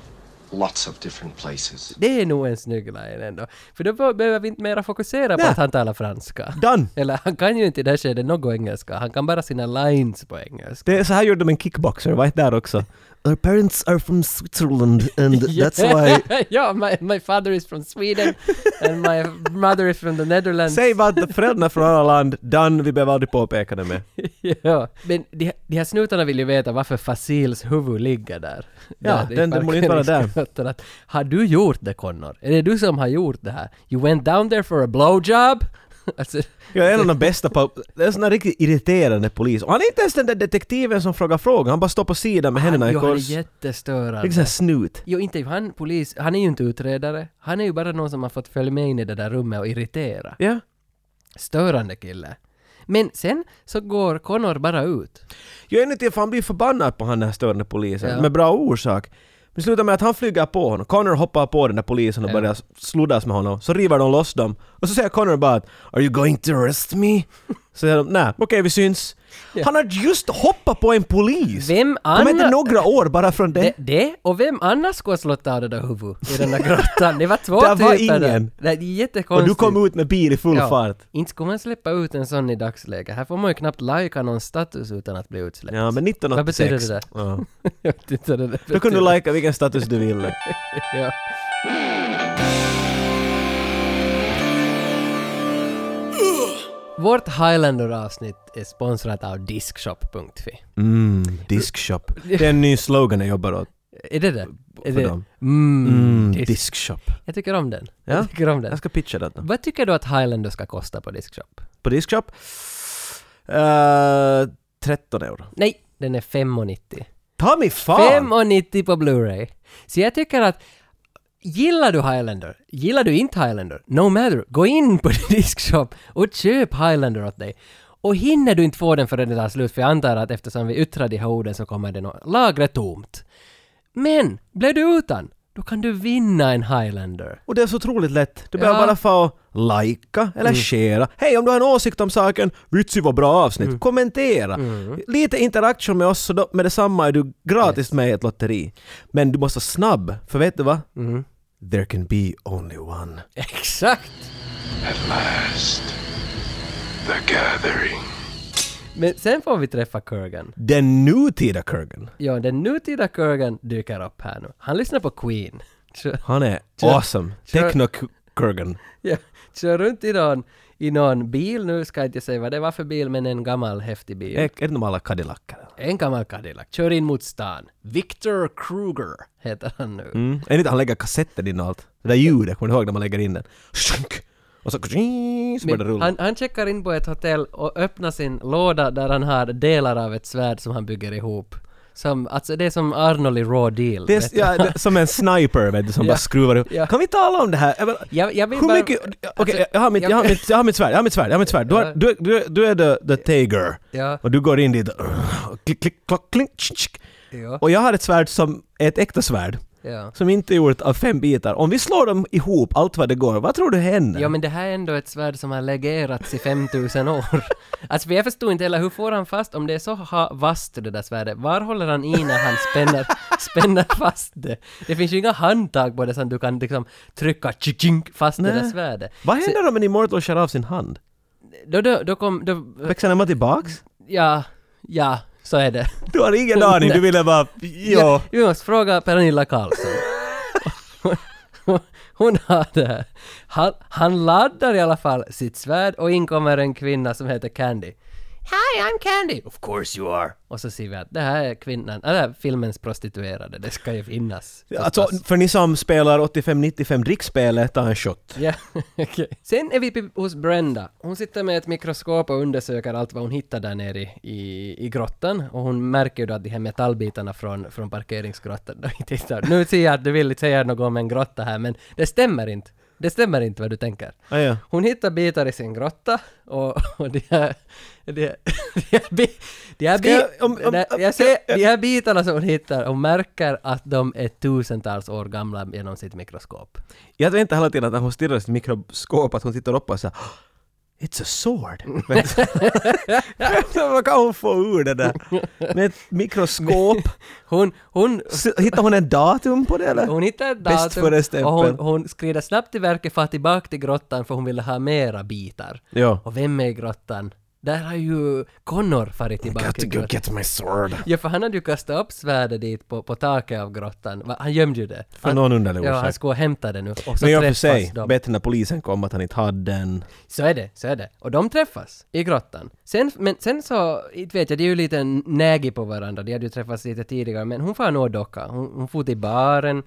Lots of different places.
Det är nog en snygg line ändå. För då be- behöver vi inte mera fokusera på
Nej.
att han talar franska.
Done.
Eller han kan ju inte i det här skedet något engelska. Han kan bara sina lines på engelska.
Det, så här gjorde de en kickboxer, var inte där också? Our parents are from Switzerland and that's why...
ja, my, my father is from Sweden and my mother is from the Netherlands.
Säg bara att föräldrarna från alla land, done, vi behöver aldrig påpeka det mer.
ja. Men de, de här snutarna vill ju veta varför Fasils huvud ligger där.
Ja,
i
den- den borde inte vara där.
parkeringsgatan. Att, Har du gjort det Connor? Är det du som har gjort det här? You went down there for a blowjob? alltså,
Jag är en av de bästa på... Det är en sån här riktigt irriterande polis. Och han är inte ens den där detektiven som frågar frågor, han bara står på sidan med händerna i
jo, han är
kors.
jättestörande.
Liksom en snut.
Jo, inte är ju han polis. Han är ju inte utredare. Han är ju bara någon som har fått följa med in i det där rummet och irritera.
Ja.
Störande kille. Men sen så går Connor bara ut.
Jag är inte för han blir förbannad på han den här störande polisen,
Ja.
med bra orsak. Men slutar med att han flyger på honom. Connor hoppar på den där polisen och
Ja.
börjar sluddas med honom. Så river de loss dem. Och så säger Connor bara att “Are you going to arrest me?” Så säger de “Nej, okej vi syns”. Han har just hoppat på en polis!
Vem
Kom inte
annan-
några år bara från det?
Det, det? Och vem annars skulle ha slått av det där huvudet i den där grottan? Det var två
Det var
typer där.
ingen.
Det är jättekonstigt.
och du kom ut med bil i full fart.
Inte skulle man släppa ut en sån i dagsläget. Här får man ju knappt lajka någon status utan att bli utsläppt.
Ja, men 1986.
Vad betyder det där?
Ja.
Jag vet inte vad det där
Då kunde
betyder.
du likea vilken status du ville.
Ja. Vårt Highlander-avsnitt är sponsrat av Diskshop.fi.
Mm, diskshop. Det är en ny slogan jag jobbar åt.
Är det det? Är
För
det?
dem.
Mm,
Mm,
disk.
diskshop.
Jag tycker om den.
Ja.
Jag tycker om den.
Jag ska pitcha detta.
Vad tycker du att Highlander ska kosta på Diskshop?
på Diskshop. Uh, 13 euro.
Nej, den är 5,90.
Ta mig fan!
5,90 på Blu-ray. Så jag tycker att Gillar du Highlander? Gillar du inte Highlander? No matter, gå in på Diskshop och köp Highlander åt dig. Och hinner du inte få den förrän det tar slut, för jag antar att eftersom vi yttrar de här orden så kommer det nå- lagret tomt. Men, blev du utan, då kan du vinna en Highlander.
Och det är så otroligt lätt. Du behöver
Ja. Mm.
bara få likea eller sharea. Hej, om du har en åsikt om saken, vitsi vad bra avsnitt,
Mm.
kommentera. Lite interaktion med oss, så då, med detsamma är du gratis med i ett lotteri. Men du måste vara snabb, för vet du vad?
Mm.
There can be only one.
Exakt!
At last, the gathering.
Men sen får vi träffa Kurgan.
Den nutida Kurgan,
Ja, den nutida Kurgan dyker upp här nu. Han lyssnar på Queen. Kör,
han är
Kör-
awesome.
kör-
Techno-Kurgan.
ja, kör runt i någon, i någon bil nu, ska jag inte säga vad det var för bil, men en gammal häftig bil.
Är är det de alla Cadillacer?
En gammal Cadillac, kör in mot stan. Victor Kruger heter han nu.
Mm. Är det inte han lägger kassetten in och allt? Det där ljudet, kommer du ihåg när man lägger in den? Shunk! Och så... Så börjar det
Men
rulla.
han, han checkar in på ett hotell och öppnar sin låda där han har delar av ett svärd som han bygger ihop. Som, alltså det är som Arnold i Raw Deal.
Det
vet
är,
du.
ja, det, är som en sniper vet du, som
Ja.
bara skruvar upp.
Ja.
Kan vi tala om det här? Jag, menar,
Jag- jag vill
hur
bara-
mycket... Okej,
alltså,
jag, har mitt- jag, har
jag-
mitt- jag har mitt svärd, jag har mitt svärd, jag har mitt svärd. Du, har,
Ja.
du, du, du är the, the tiger.
Ja.
Och du går in dit och klick, klick, klock, klink, tsk, tsk.
Ja.
Och jag har ett svärd som är ett äkta svärd.
Ja.
Som inte är gjort av fem bitar. Om vi slår dem ihop, allt vad det går, vad tror du händer?
Ja men det här är ändå ett svärd som har legerats i 5000 år. Alltså för jag förstod inte heller, hur får han fast om det är så ha- vasst det där svärdet? Var håller han i när han spänner, spänner fast det? Det finns ju inga handtag på det som du kan liksom trycka tjing, fast det där
Nej.
svärdet.
Vad händer om en immortal skär av sin hand?
Då, då, då kom, då,
Växer den bara tillbaks?
ja, ja, så är det.
Du har ingen aning, du ville bara... Ja.
Vi måste fråga Pernilla Karlsson. Hon- Hon har det här. Han, han laddar i alla fall sitt svärd och in kommer en kvinna som heter Candy. Hi, I'm Candy! Of course you are! Och så ser vi att det här är kvinnan, eller filmens prostituerade, det ska ju finnas.
Alltså,
förstås.
för ni som spelar 85-95 drickspelet, ta en shot.
Ja, okej. Sen är vi p- hos Brenda. Hon sitter med ett mikroskop och undersöker allt vad hon hittar där nere i, i, i grottan. Och hon märker ju då att de här metallbitarna från, från parkeringsgrottan då inte hittar. Nu ser jag att du vill inte säga något om en grotta här, men det stämmer inte. Det stämmer inte vad du tänker.
Ah, ja.
Hon hittar bitar i sin grotta och, och de här... De här, de här, bi- de här,
Ska
bi-
jag- om- om-
Nej, jag ser, de här bitarna som hon hittar och märker att de är tusentals år gamla genom sitt mikroskop.
Jag tänkte hela tiden att när hon stirrar i sitt mikroskop att hon tittar upp och säger It's a sword! Men Vad kan hon få ur det där? Med ett mikroskop?
Hon, hon,
S- Hittar hon en datum på det eller?
Hon hittade ett
Bäst
datum
före-stämpel.
och hon, hon skrider snabbt till verket för att tillbaka till grottan för hon ville ha mera bitar.
Ja.
Och vem är i grottan? Där har ju Connor farit tillbaka till grottan.
my sword!
Ja, för han hade ju kastat upp svärdet dit på, på taket av grottan. Va, Han gömde ju det.
För
Han-
någon underlig
Ja, han
orsak.
skulle hämta det nu. Och så
Men jag för
träffas
sig,
de.
bättre när polisen kom att han inte hade den.
Så är det, så är det. Och de träffas i grottan. Sen, men sen så, inte vet jag, det är ju lite nägi på varandra. De hade ju träffats lite tidigare, men hon får nå docka. Hon, hon får till baren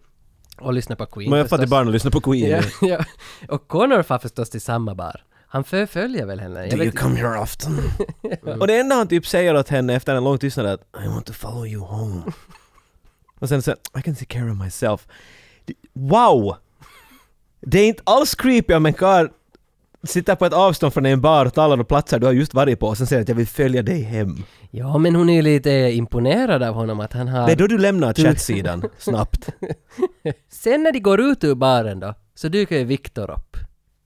och lyssnar på Queen
Men jag fattar
förstås.
barn och lyssnar på Queen.
Ja,
Yeah.
ja. Och Connor far förstås till samma bar. Han förföljer väl henne? Jag
Do you
vet,
come here often? Och det enda han typ säger åt henne efter en lång tystnad är att I want to follow you home. Och sen så I can take care of myself. Det- Wow! Det är inte alls creepy om en karl sitter på ett avstånd från en bar och talar och platser du har just varit på och sen säger att jag vill följa dig hem.
ja, men hon är ju lite imponerad av honom att han
Det är
har...
då du lämnar chattsidan snabbt.
Sen när de går ut ur baren då, så dyker ju Viktor upp.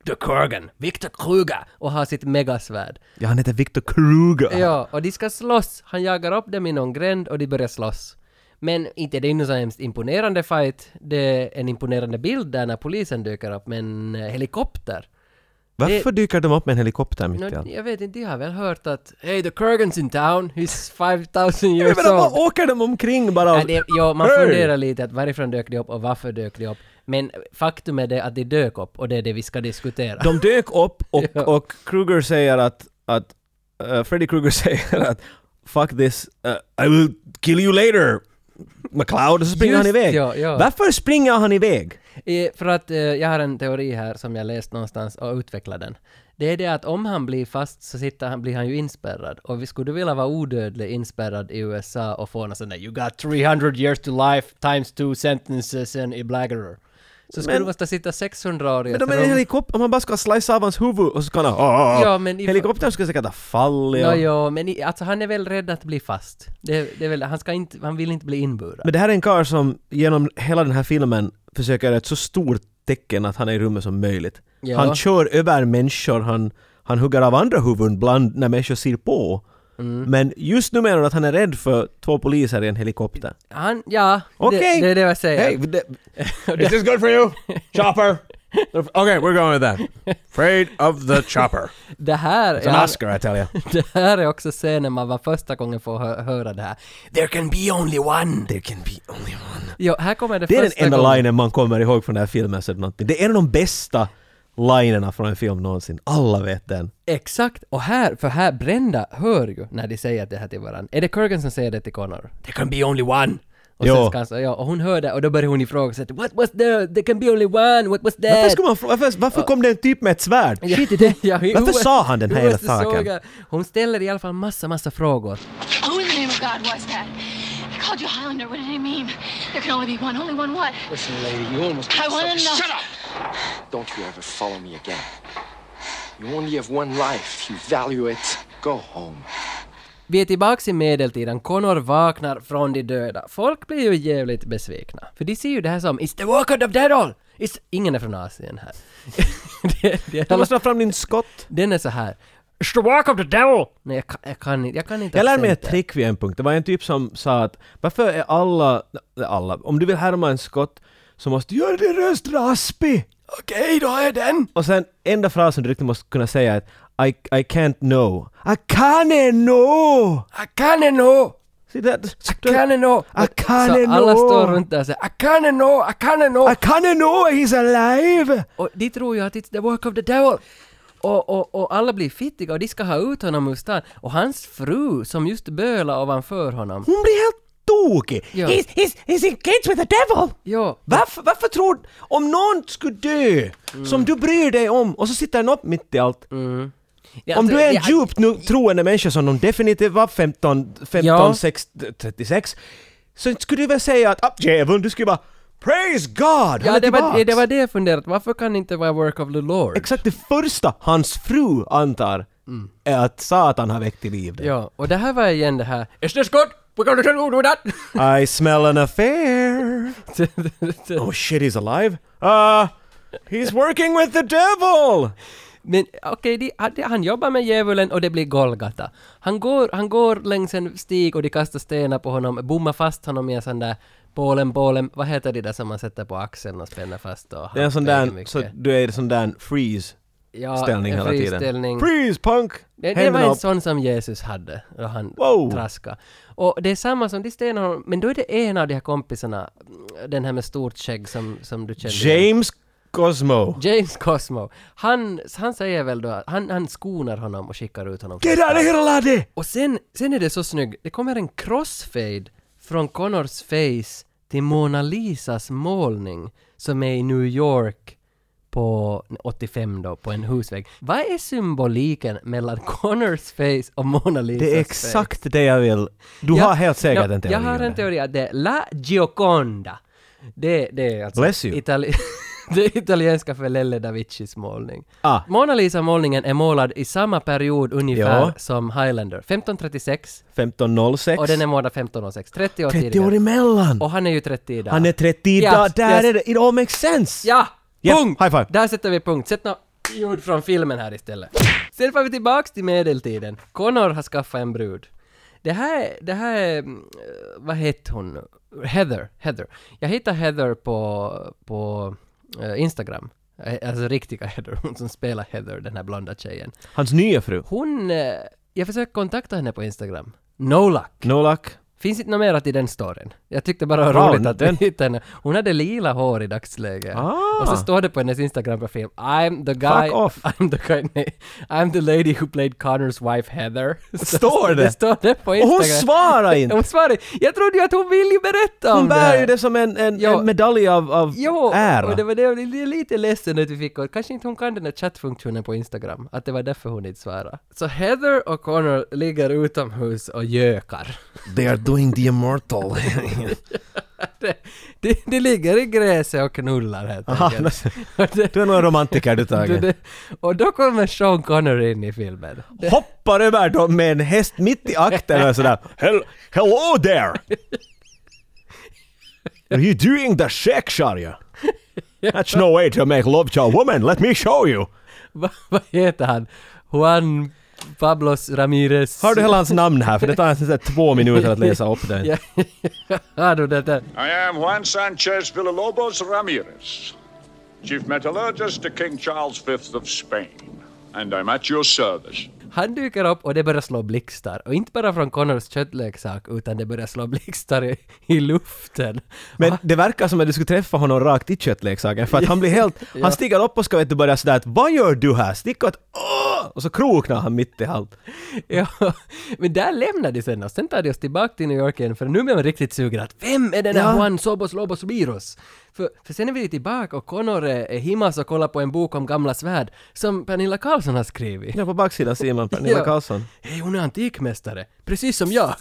The Kurgan, Viktor Kruger! Och har sitt megasvärd.
Ja, han heter Victor Kruger.
Ja, och de ska slåss. Han jagar upp dem i någon gränd och de börjar slåss. Men inte det är någon så hemskt imponerande fight. Det är en imponerande bild där när polisen dyker upp, men eh, helikopter.
Varför dyker de upp med en helikopter mitt
Nå,
i allt?
jag vet inte, jag har väl hört att Hey, the Kurgan's in town, he's 5000 years
Jag menar,
old.
vad åker de omkring bara?
Ja, det, ja, man
alltså, Hey!
funderar lite att varifrån dök de upp och varför dök de upp. Men faktum är det att de dök upp och det är det vi ska diskutera.
De dök upp och,
Ja.
och Kruger säger att, att eh, Freddy Krueger säger att Fuck this, eh, I will kill you later! McCloud, och så springer
Just,
han iväg.
ja, ja.
Varför springer han iväg?
Eh, För att eh, jag har en teori här som jag läst någonstans och utvecklat den. Det är det att om han blir fast så sitter han, blir han ju inspärrad. Och vi skulle vilja vara odödlig inspärrad i USA och få någon sån där “You got 300 years to life times two sentences and i blaggerer”. Så skulle
Men-
du måste sitta 600 år i
Men
ett
de är i en
rum.
helikopter, om man bara ska slicea av hans huvud och så kan han... ah, ah.
Ja, men if-
Helikoptern skulle säkert ha fallit.
Ja,
och-
ja, men i, alltså han är väl rädd att bli fast. Det, det är väl, han, ska inte, han vill inte bli inburad.
Men det här är en karl som genom hela den här filmen försöker göra ett så stort tecken att han är i rummet som möjligt.
Ja.
Han kör över människor, han, han hugger av andra huvuden bland när människor ser på.
Mm.
Men just nu menar du att han är rädd för två poliser i en helikopter.
Han, ja,
Okej!
det, det är det jag säger.
Hey, det, is this good for you? Chopper! Okay, we're going with that. Afraid of the chopper.
Det här,
It's an
är,
Oscar, I tell you.
det här är också scenen man var första gången får hö, höra det här. There can be only one!
There can be only one.
Jo, här kommer det,
Det är den
första
enda
gången.
linen man kommer ihåg från den här filmen. Så är det någonting. det är en av de bästa linerna från en film någonsin. Alla vet den.
Exakt, och här, för här, Brenda hör ju när de säger det här till varandra. Är det Kurgan som säger det till Connor? There can be only one! Och,
Jo.
sen ska han, säga, ja, och hon hör det och då börjar hon ifrågasätta What was the, there can be only one, what was
Varför,
that?
skulle man, fråga- varför, varför kom det en typ med ett svärd?
Eh, Ja.
Skit i det.
Ja, hur-
Varför
hur-
sa han den här
hur
hela
måste jag
saken?
såga? Hon ställer i alla fall massa, massa frågor.
Who in the name of God was that? I called you Highlander. What did I mean? There can only be one. Only one what?
Listen, lady, you almost.
I want to know.
Shut up! Don't you ever follow me again. You only have one life. You value it. Go home.
Vi är tillbaks i medeltiden, Connor vaknar från de döda. Folk blir ju jävligt besvikna. För de ser ju det här som “It's the walkout of dead all!” It's... Ingen är från Asien här. det, det,
Du måste ha fram din skott.
Den är så här. It's the walk of the devil! Nej, jag kan, jag kan, inte- jag kan inte
Jag lärde mig ett
accenten.
trick vid en punkt. Det var en typ som sa att varför är alla, alla, om du vill härma en skott så måste du göra din röst raspig.
Okej, då är den!
Och sen enda frasen du riktigt måste kunna säga är att I, I can't know. I can't know!
I can't know!
See that?
I can't know!
I can't
Så alla
know.
står runt där och säger I can't know! I can't know!
I can't know he's alive!
Och de tror ju att it's the work of the devil! Och, och, och alla blir fittiga och de ska ha ut honom ur stan. Och hans fru som just bölar ovanför honom.
Hon blir helt tokig!
Ja.
He's, he's, he's engaged with the devil!
Ja,
Varför, varför tror... Om någon skulle dö
Mm.
som du bryr dig om och så sitter den upp mitt i allt.
Ja,
Om
Mm. alltså,
du är en
jag-
djupt nu, troende människa som de definitivt var 15, 15
Ja.
6, 36 så skulle du väl säga att ah, djävulen, du skulle bara “Praise God!” han
Ja,
är
det var,
tillbaks."
det var det jag funderat. Varför kan det inte vara work of the Lord?
Exakt det första hans fru antar
Mm.
är att Satan har väckt till liv det.
Ja, och det här var igen det här Is this good? We're gonna turn good with that!
I smell an affair! Oh shit, he's alive? Uh, he's working with the devil!
Men okej, de- han- de- han jobbar med djävulen och det blir Golgata. Han går, han går längs en stig och de kastar stenar på honom, bommar fast honom i en sån där Bålen, bålen, vad heter det där som man sätter på axeln och spänner fast och
Det är en
han
sån
väger
där,
mycket?
så du är i sån där freeze-ställning
ja, en
hela
friställning.
tiden. Freeze punk!
Det, det var
Händerna
en
upp.
sån som Jesus hade och han
Wow.
traskade. Och det är samma som de stenar honom, men då är det en av de här kompisarna, den här med stort skägg som, som du kände igen.
James Cosmo.
James Cosmo. Han, han säger väl då att han, han skonar honom och skickar ut honom.
Get out of here laddie!
Och sen, sen är det så snyggt, det kommer en crossfade från Connors face till Mona Lisas målning som är i New York på 85 då, på en husvägg. Vad är symboliken mellan Connors face och Mona Lisas
Det är
face?
exakt det jag vill. Du har helt säkert en teori
Jag har
om
en
det.
teori att det är La Gioconda. Det, det är alltså
Bless you.
Itali- det är italienska för Lelle da Vicis målning.
Ah.
Mona Lisa-målningen är målad i samma period ungefär
Ja.
som Highlander. 1536
1506.
och den är målad 1506. 30 år
30 år
tidigare.
emellan!
Och han är ju 30 idag.
Han är 30
Yes,
idag, där
yes.
är det! It all makes sense!
Ja!
Yes,
Punkt!
high five.
Där sätter vi punkt. Sätt något ljud från filmen här istället. Sen får vi tillbaks till medeltiden. Connor har skaffat en brud. Det här, det här är, mm, vad hette hon nu? Heather, Heather. Jag hittade Heather på, på eh, Instagram. Eh, Alltså riktiga Heather, hon som spelar Heather, den här blonda tjejen.
Hans nya fru.
Hon, eh, jag försökte kontakta henne på Instagram. No luck.
No luck.
Finns inte något mer i den storyn. Jag tyckte bara det
Wow,
var roligt att
den-
vi hittade henne. Hon hade lila hår i dagsläget.
Ah.
Och så står det på hennes Instagram-profil I'm the guy...
Fuck off.
I'm the guy... Nej, I'm the lady who played Connors wife Heather. Så-
Står det?
Det står det på
Och
Instagram.
hon svarar inte!
Hon svarar Jag trodde ju att hon ville ju berätta
Hon
om det
bär ju
här.
det som en, en,
Ja.
en medalj av, av
Jo,
ära.
och det var det jag blev lite ledsen att vi fick och kanske inte hon kan den där chattfunktionen på Instagram, att det var därför hon inte svarade. Så Heather och Connor ligger utomhus och gökar.
They are doing the immortal.
det, det, det ligger i gräset och knullar helt
Aha,
enkelt.
du är nog en romantiker du
Du,
Tage.
det- och då kommer Sean Connery in i filmen.
Hoppar över dem med en häst mitt i akten och sådär Hel- Hello there! Are you doing the sex are you? That's no way to make love to a woman, let me show you!
Va- Vad heter han? Juan Pablos Ramirez.
Har du hela hans namn här? För det tar nästan två minuter att läsa upp den.
Ja, Har du det där?
I am Juan Sanchez Villalobos Ramirez, Chief Metallurgist to King Charles V of Spain, and I'm at your service.
Han dyker upp och det börjar slå blixtar. Och inte bara från Connors köttleksak, utan det börjar slå blixtar i, i luften.
Men det verkar som att du skulle träffa honom rakt i köttleksaken för att han blir helt...
Ja.
Han stiger upp och ska vet du börja sådär att ”Vad gör du här?” Stick åt Åh! och så kroknar han mitt i allt.
Ja, men där lämnar de sen oss. Sen tar de oss tillbaka till New York igen, för nu blir man riktigt sugen att vem är den där
Ja.
Juan Sobos Lobos Biros? För, för sen är vi tillbaka och Connor är är himas och kollar på en bok om gamla svärd som Pernilla Karlsson har skrivit.
Ja, på baksidan ser man Pernilla
Ja.
Karlsson.
Hej, hon är antikmästare, precis som jag!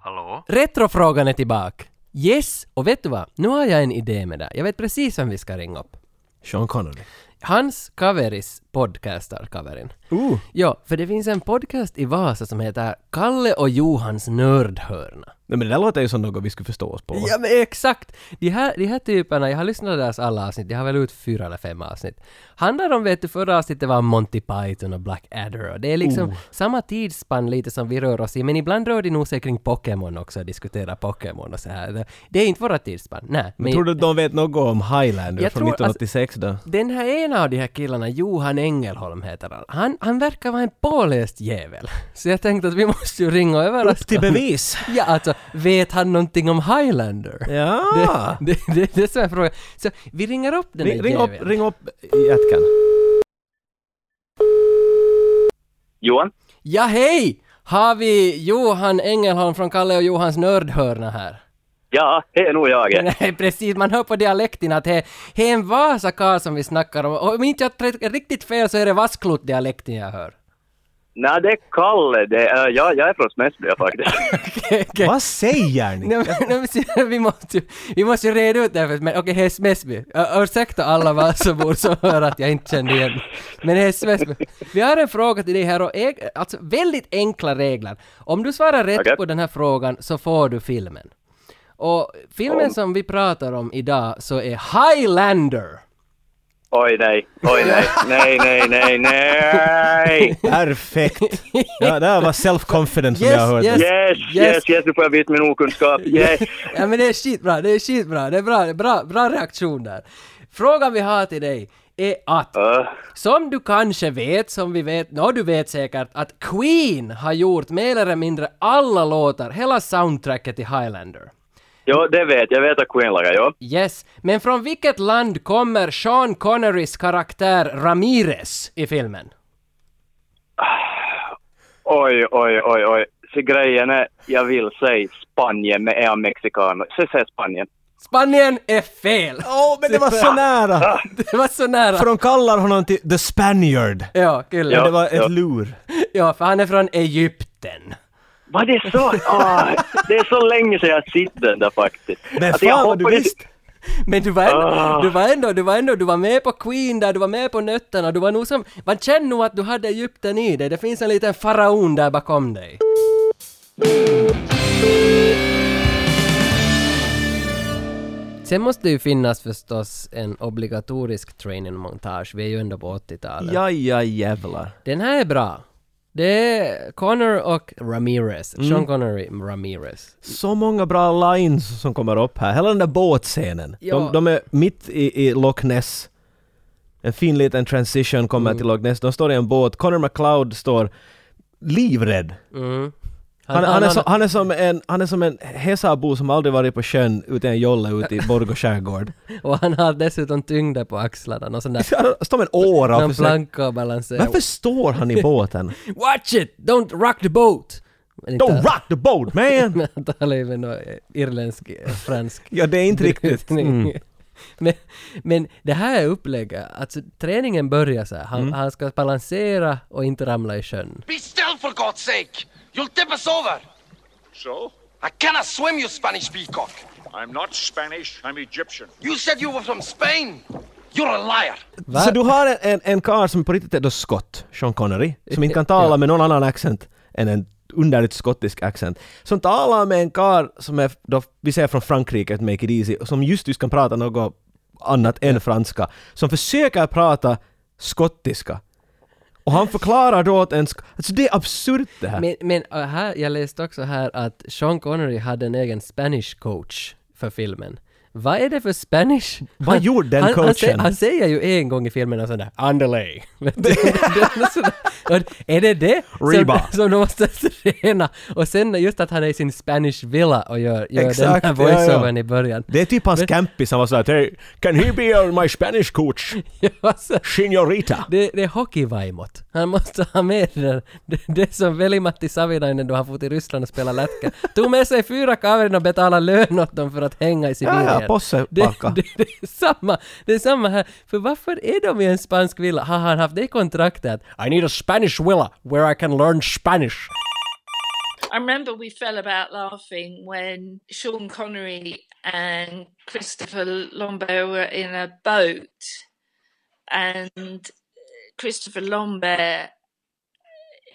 Hallå?
Retrofrågan är tillbaka! Yes! Och vet du vad? Nu har jag en idé med det. Jag vet precis vem vi ska ringa upp.
Sean Connery.
Hans coveris podcastar coverin.
Uh.
Ja, för det finns en podcast i Vasa som heter Kalle och Johans nördhörna.
Nej, men det där låter ju som något vi skulle förstå oss på.
Ja men exakt! De här, de här typerna, jag har lyssnat på deras alla avsnitt, jag har väl ut fyra eller fem avsnitt. Handlar om, vet du, förra avsnittet var Monty Python och Blackadder och det är liksom
Oh.
samma tidsspann lite som vi rör oss i, men ibland rör de nog sig kring Pokémon också och diskuterar Pokémon och så här. Det är inte våra tidsspann, nej.
Men tror du att de vet något om Highlander
Jag
från
tror,
1986 då?
Den här ena av de här killarna, Johan Engelholm heter han, han, han verkar vara en påläst jävel. Så jag tänkte att vi måste ju ringa och överraska
Upp till
honom.
bevis.
Ja, alltså, vet han någonting om Highlander?
Ja.
Det, det, det, det är så en fråga. Så vi ringer upp den
Ah! Ring,
här
ring upp,
jäveln.
ring upp jätkan.
Johan?
Ja, hej! Har vi Johan Engelholm från Kalle och Johans nördhörna här?
Ja, det är nog jag.
Nej, precis. Man hör på dialekten att det det är en Vasakar som vi snackar om. Och om inte jag har riktigt fel så är det Vasklot-dialekten jag hör.
Nej, det är Kalle. Det är, jag, jag är från Smedsbya faktiskt.
Vad säger ni?
Nej, men, nej, men, se, vi, måste, ju- vi måste ju reda ut det här först, men okej, här är Smesby. Ö, Ursäkta alla Vasabor som hör att jag inte kände igen Men här är Smesby. Vi har en fråga till dig här och äg- alltså väldigt enkla regler. Om du svarar rätt
Okej.
på den här frågan så får du filmen. Och filmen
Om.
som vi pratar om idag så är Highlander.
Oj nej, oj nej, nej, nej, nej, nej.
Perfekt! Ja, det här var self-confident som
Yes,
jag hörde.
yes.
Yes, yes, yes, nu får jag visa min okunskap. Yes.
ja men det är skitbra, det är skitbra, det är bra, det är bra, bra reaktion där. Frågan vi har till dig är att, som du kanske vet, som vi vet, nå du vet säkert, att Queen har gjort mer eller mindre alla låtar, hela soundtracket till Highlander.
Jo, det vet jag. Jag vet att Queen lagar, jo.
Yes, men från vilket land kommer Sean Connerys karaktär Ramirez i filmen?
Oj, oj, oj, oj. Så grejen är, jag vill säga Spanien, men är jag mexikan? Så jag säger Spanien.
Spanien är fel!
Åh, men det var så nära!
Det var så nära!
För de kallar honom till The Spaniard.
Ja, kul.
Men det var ett lur.
Ja, för han är från Egypten.
Vad det är så? Ah, det är så länge sedan jag har sett den där faktiskt.
Men
Alltså, jag
fan vad du
hoppades-
visste. Men du var, ändå,
Ah.
du var ändå, du var ändå, du var med på Queen där, du var med på nötterna, du var nog som, man känner nog att du hade Egypten i dig, det finns en liten faraon där bakom dig. Sen måste det ju finnas förstås en obligatorisk training-montage, vi är ju ändå på 80-talet.
Ja, ja, jävlar.
Den här är bra. Det är Connor och Ramirez,
Mm.
Sean Connery Ramirez.
Så många bra lines som kommer upp här. Hela den där båtscenen.
Ja.
De, de är mitt i, i Loch Ness. En fin liten transition kommer till Loch Ness. De står i en båt. Connor McLeod står livrädd.
Mm.
Han, han, är, så, han, är som en, han är som en Hesabo som aldrig varit på sjön utan en jolle ute i Borgå skärgård.
Och han har dessutom tyngder på axlarna, någon sån där...
Står med en åra och
Någon
försöker-
planka och balansera.
Varför står han i båten?
Watch it! Don't rock the boat!
Don't rock the boat man!
Han talar ju med någon irländsk, eh, fransk...
Ja, det är inte riktigt.
brytning.
Mm.
Men, men det här är upplägget, alltså träningen börjar så här. Han,
Mm.
han ska balansera och inte ramla i sjön.
Be still, for God's sake! You'll tip us over! So? I cannot swim, you Spanish peacock!
I'm not Spanish, I'm Egyptian.
You said you were from Spain! You're a liar!
Så du har en, en, en karl som på riktigt är då skott, Sean Connery, som inte kan tala med någon annan accent än en underligt skottisk accent. Som talar med en karl som är, då, vi säger från Frankrike, att make it easy, och som just just kan prata något annat än franska. Som försöker prata skottiska. Och han förklarar då åt en... sk- Alltså det är absurt det här.
Men, men äh, här, jag läste också här att Sean Connery hade en egen Spanish coach för filmen. Vad är det för Spanish?
Vad gjorde den
han, han,
coachen?
säger, han säger ju en gång i filmen och sådär ”Underlay”. Vet du? Det är något sådär. Och är det det som,
Reba.
som de måste träna? Och sen just att han är i sin Spanish villa och gör, gör den här
Exakt, ja, ja.
voiceovern i början.
Det är typ hans campis, han var såhär hey, “Can he be your my Spanish coach? Señorita?”
Det, det är hockeyvaimot. Han måste ha med det där. Det, det är som Veli-Matti Savinainen då han for till Ryssland och spelade lätka. Tog med sig fyra kaverin och betalade lön åt dem för att hänga i Sibirien.
Ja, ja, Posse
det,
Backa.
det, det är samma. Det är samma här. För varför är de i en spansk villa? Har han haft det i kontraktet? I need a Spanish villa where I can learn Spanish.
I remember we fell about laughing when Sean Connery and Christopher Lambert were in a boat, and Christopher Lambert,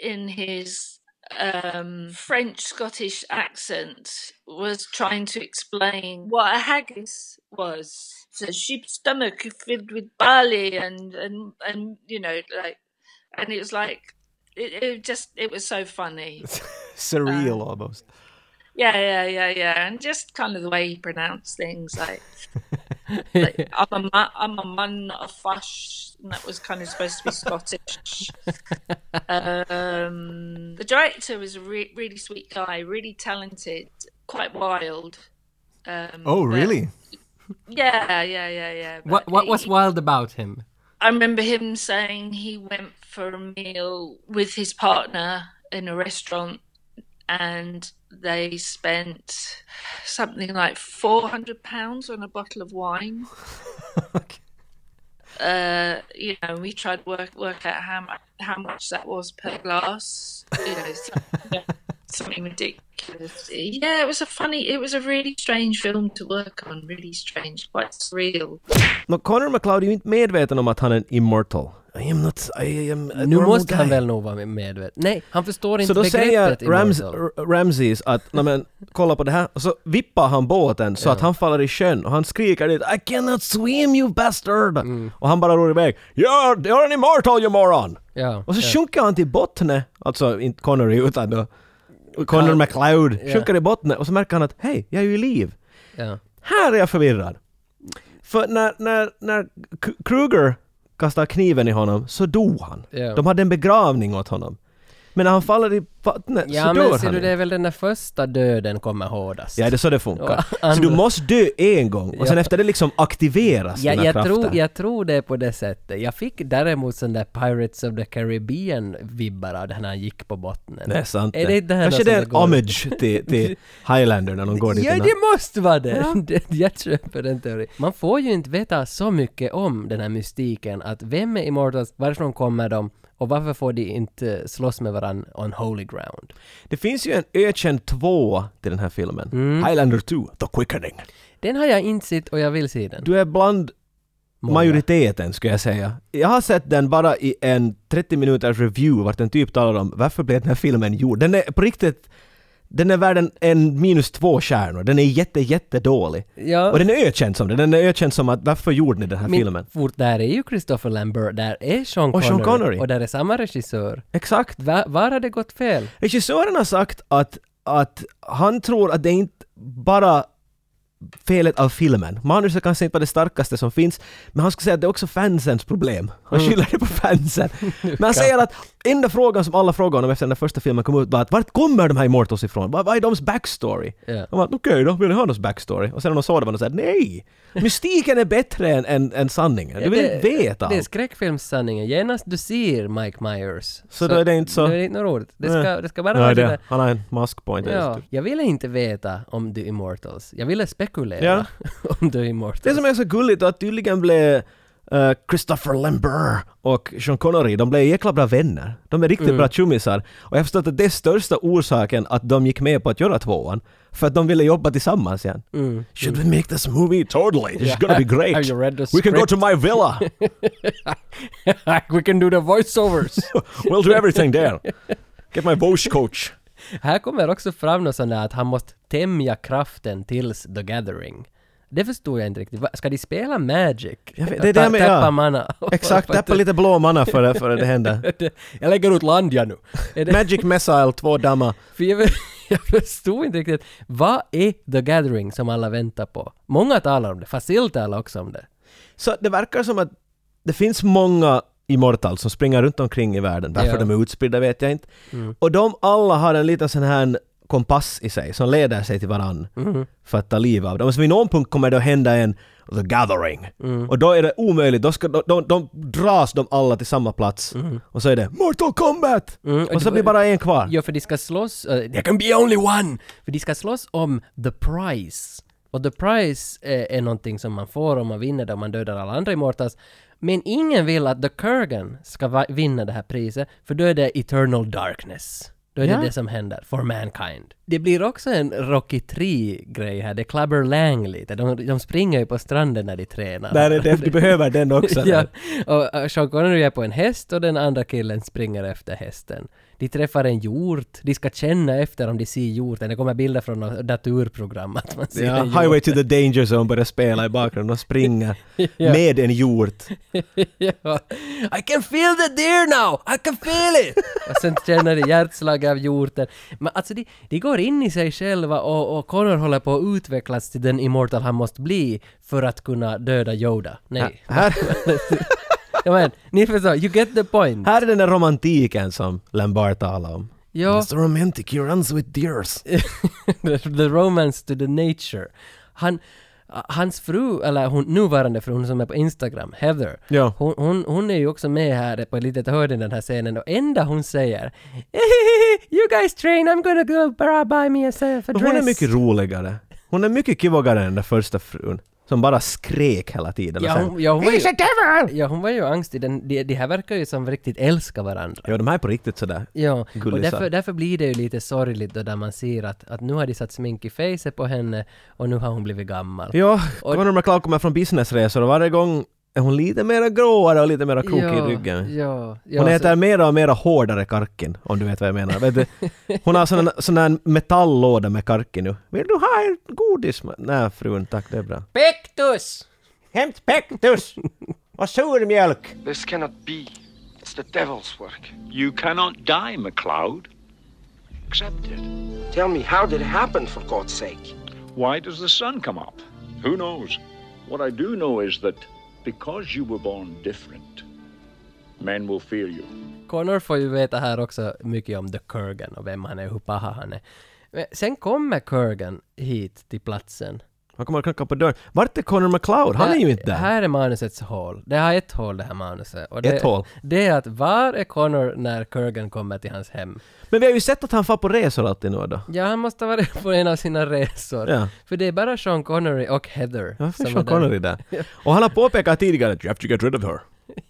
in his um, French Scottish accent, was trying to explain what a haggis was. It's a sheep's stomach filled with barley and, and, and you know, like, and it was like, it, it just, it was so funny.
Surreal almost.
Yeah, yeah, yeah, yeah, and just kind of the way he pronounced things, like, like I'm a man, I'm a man, not a fush, and that was kind of supposed to be Scottish. um, the director was a re- really sweet guy, really talented, quite wild. Um,
Oh,
but-
really?
Yeah, yeah, yeah, yeah.
What,
but
what
he-
was wild about him?
I remember him saying he went for a meal with his partner in a restaurant and they spent something like 400 pounds on a bottle of wine. Uh, you know, we tried to work work out how much how much that was per glass. You know, so- yeah, something ridiculous. Yeah, it was a funny. It was a really strange film to work on. Really strange, quite surreal.
Nå, Connor McLeod är ju inte medveten om att han är en immortal. I am not, I am a
Nu
normal
måste
guy.
han väl nog vara medveten? Nej, han förstår
Så
inte
då säger
begreppet
Rams,
immortal.
R- Ramses att "Nå, men, kolla på det här och så vippar han båten så att han faller i sjön och han skriker dit I cannot swim you bastard!
Mm.
Och han bara ror iväg You're, you're an immortal you moron!
Ja,
och så
ja.
sjunker han till botten, alltså inte Connery utan då Connor McLeod
ja.
sjunker i botten och så märker han att hej, jag är ju i liv.
Ja.
Här är jag förvirrad. För när, när, när K- Kruger kastade kniven i honom så dog han.
Ja.
De hade en begravning åt honom. Men när han faller i vattnet
Ja
så dör
men ser
han
du, det
inte.
är väl den där första döden kommer hårdast.
Ja, det är så det funkar.
Ja,
Så du
andra-
måste dö en gång och sen
Ja.
efter det liksom aktiveras
Ja,
dina
jag,
krafter.
tror, jag tror det är på det sättet. Jag fick däremot sån där Pirates of the Caribbean-vibbar av det här när han gick på bottnen.
Det är sant
Är det inte det här
Kanske
som
det är en
går-
homage till, till Highlander när de går dit
Ja,
innan.
det måste vara det!
Ja.
Det- Jag köper den teorin. Man får ju inte veta så mycket om den här mystiken, att vem är Immortals, varifrån kommer de och varför får de inte slåss med varandra on holy ground?
Det finns ju en ökänd tvåa till den här filmen.
Mm.
Highlander 2, The Quickening.
Den har jag inte sett och jag vill se den.
Du är bland majoriteten skulle jag säga. Jag har sett den bara i en 30 minuters review vart en typ talar om varför blev den här filmen gjord. Den är på riktigt den är värd en, en minus två stjärnor. Den är jätte, jätte dålig.
Ja.
Och den är ökänd som det. Den är ökänd som att varför gjorde ni den här
Men
filmen?
Fort där är ju Christopher Lambert, där är Sean
Och
Connery.
Sean Connery.
Och där är samma regissör.
Exakt.
Va, var har det gått fel?
Regissören har sagt att, att han tror att det är inte bara felet av filmen. Manuset kanske inte var det starkaste som finns, men han skulle säga att det är också fansens problem. Han
Mm.
skyller det på fansen. Men han säger att enda frågan som alla frågade honom efter den där första filmen kom ut var att vart kommer de här Immortals ifrån? Vad, vad är deras backstory?
Ja.
Han bara okej då, vill ni ha deras backstory? Och sen när de såg det var de såhär nej! Mystiken är bättre än, än, än sanningen. Du vill inte veta
Det är
allt.
skräckfilmssanningen. Genast du ser Mike Myers.
Så då är det inte så-
Då är det inte något roligt. Det
Nej.
ska, det ska bara
Nej,
vara
det-
sådär-
Han har en maskpoint.
Ja, jag ville inte veta om The Immortals. Jag ville spekulera
Ja.
om The Immortals.
Det som är så gulligt är att tydligen blev eh, Christopher Lambert och Sean Connery, de blev jäkla bra vänner. De är riktigt
Mm.
bra tjummisar. Och jag har förstått att det är största orsaken att de gick med på att göra tvåan. För att de ville jobba tillsammans igen.
Mm.
Should we make this movie? Totally! It's
Yeah.
gonna be great!
Have you read the
We can go
script?
to my villa!
We can do the voiceovers!
We'll do everything there! Get my voice coach!
Här kommer också fram något sånt där att han måste tämja kraften tills The Gathering. Det förstod jag inte riktigt. Va- Ska de spela Magic?
Jag vet-
Och
det är det
ta-
jag menar.
Tappa mana?
Exakt, tappa lite blå manna före för det händer.
jag lägger ut Landia nu. Är det-
Magic Missile, två dammar.
För jag, vill, jag förstod inte riktigt. Vad är The Gathering som alla väntar på? Många talar om det, Fazil talar också om det.
Så det verkar som att det finns många Immortals som springer runt omkring i världen. Varför
Ja.
de är utspridda vet jag inte.
Mm.
Och de alla har en liten sån här kompass i sig som leder sig till varann
Mhm.
för att ta liv av dem. Så vid någon punkt kommer det att hända en The Gathering.
Mm.
Och då är det omöjligt, då ska, de, de, de dras de alla till samma plats. Och så är det Mortal Kombat!
Mm,
Och så
det-
blir bara en kvar.
Ja, för de ska slåss... eh, there can be only one! För de ska slåss om the prize. Och the prize eh, är någonting som man får om man vinner det, om man dödar alla andra Immortals. Men ingen vill att the Kurgan ska va- vinna det här priset, för då är det eternal darkness. Då är
Ja.
det det som händer, for mankind. Det blir också en Rocky 3-grej här, det klabber Lang lite. De, de springer ju på stranden när de tränar.
Där är det, du behöver den också.
ja,
där.
och eh, Sean Connery är på en häst och den andra killen springer efter hästen. De träffar en hjort, de ska känna efter om de ser hjorten. Det kommer bilder från något naturprogram att man ser
Ja,
en hjort.
Highway to the Danger Zone börjar spela i bakgrunden och springer
Ja.
med en hjort.
ja. I can feel the deer now! I can feel it! och sen känner de hjärtslag av hjorten. Men alltså, de, de går in i sig själva och, och Connor håller på att utvecklas till den immortal han måste bli för att kunna döda Yoda. Nej.
Ja, här-
ja, men, ni förstår, you get the point.
Här är den där romantiken som Lambert talar om.
Ja.
It's romantic, he runs with deers.
the, the romance to the nature. Han, hans fru, eller hon, nuvarande fru, hon som är på Instagram, Heather,
Ja.
hon, hon, hon är ju också med här på ett litet hörn i den här scenen och enda hon säger You guys train, I'm gonna go bara buy me a self a
Men
dress.
hon är mycket roligare. Hon är mycket kivogare än den där första frun. Som bara skrek hela tiden.
Ja,
och sen,
hon, ja, hon var
alltså. He's a
ju,
devil!
ja, hon var ju angstig. Den, de, de här verkar ju som riktigt älska varandra.
Ja, de här är på riktigt sådär
Ja, och
gullisar.
därför, därför blir det ju lite sorgligt då där man ser att, att nu har de satt smink i facet på henne och nu har hon blivit gammal.
Ja,
Och-
Conor McCloud kommer från businessresor och varje gång är hon lite mera gråare och lite mera krokig
Ja,
i ryggen.
ja, ja,
hon
så-
äter mera och mera hårdare karken, om du vet vad jag menar. Vet du, hon har sån, sån här metalllåda med karken nu. Vill du ha en godis? Nej frun, tack det är bra.
Pektus!
Hämt pektus! Och surmjölk!
This cannot be. It's the devil's work.
You cannot die, MacLeod.
Accept it. Tell me, how did it happen, for God's sake?
Why does the sun come up? Who knows? What I do know is that because you were born different, men will fear you.
Connor får ju veta här också mycket om The Kurgan och vem han är och hur paha han är. Men sen kommer Kurgan hit till platsen.
Han kommer att knacka på dörren. Vart är Conor McCloud? Han är ju inte där.
Äh, Här är manusets hål. Det har ett hål det här manuset. Och det,
Ett hål?
Det är att var är Connor när Kurgan kommer till hans hem?
Men vi har ju sett att han far på resor alltid nu då.
Ja, han måste ha varit på en av sina resor.
Ja.
För det är bara Sean Connery och Heather
Varför är
som
Sean Connery där? Och han har påpekat tidigare att you have to get rid of her.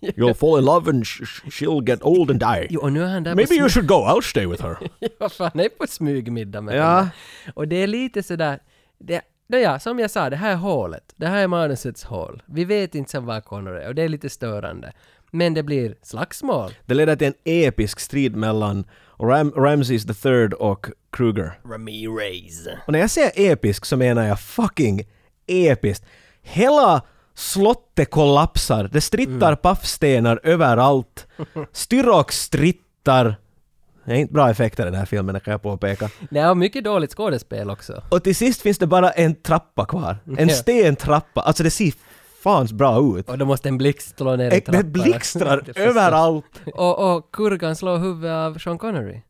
You'll fall in love and sh- sh- she'll get old and die.
Jo, och nu är han där på
Maybe you
smyg-
should go, I'll stay with her.
Ja, fan, han är på smygmiddag med
Ja.
henne. Och det är lite sådär... Det, det ja, som jag sa, det här är hålet. Det här är manusets hål. Vi vet inte som var Connor är och det är lite störande. Men det blir slagsmål.
Det ledde till en episk strid mellan Ram- Ramses the third och Kruger.
Ramirez.
Och när jag säger episk så menar jag fucking episkt. Hela slottet kollapsar, det strittar
Mm.
paffstenar överallt. Styrox strittar. Det är inte bra effekter i den här filmen, det kan jag påpeka.
Nej, och mycket dåligt skådespel också.
Och till sist finns det bara en trappa kvar. En
Ja.
stentrappa. Alltså det ser fans bra ut.
Och då måste en blixt slå ner i
Det- Det
trappan.
Eh, blixtrar
Det förstår.
överallt.
Och, och kurgan slår huvudet av Sean Connery.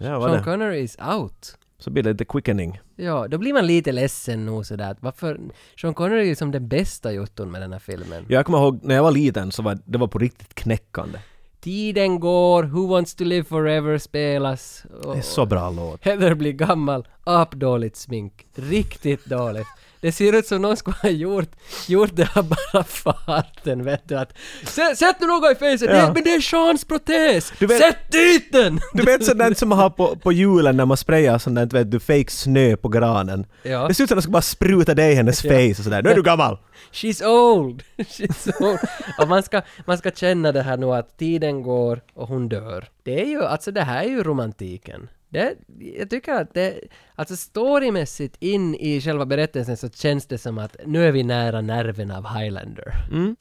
Ja, vad
Sean
det?
Connery is out.
Så blir det lite quickening.
Ja, då blir man lite ledsen nog sådär. att Varför? Sean Connery är ju som den bästa jotton med den här filmen.
Jag kommer ihåg när jag var liten så var det var på riktigt knäckande.
Tiden går, Who wants to live forever spelas. Och-
Det är så bra låt.
Heather blir gammal, apdåligt smink. Riktigt dåligt. Det ser ut som någon skulle ha gjort, gjort det här bara farten vet du att "Sä- Sätt nu något i facet!
Ja.
Det, men det är Seans protes!
Du vet-
Sätt dit den!
Du vet sådant som man har på, på julen när man sprayar sånt där, du vet du, fake snö på granen.
Ja.
Det ser ut som att de ska bara spruta dig i hennes
Ja.
face och sådär. Nu är du gammal!
She's old! She's old! och man ska, man ska känna det här nu att tiden går och hon dör. Det är ju, alltså det här är ju romantiken. Det, jag tycker att det, alltså storymässigt in i själva berättelsen så känns det som att nu är vi nära nerven av Highlander.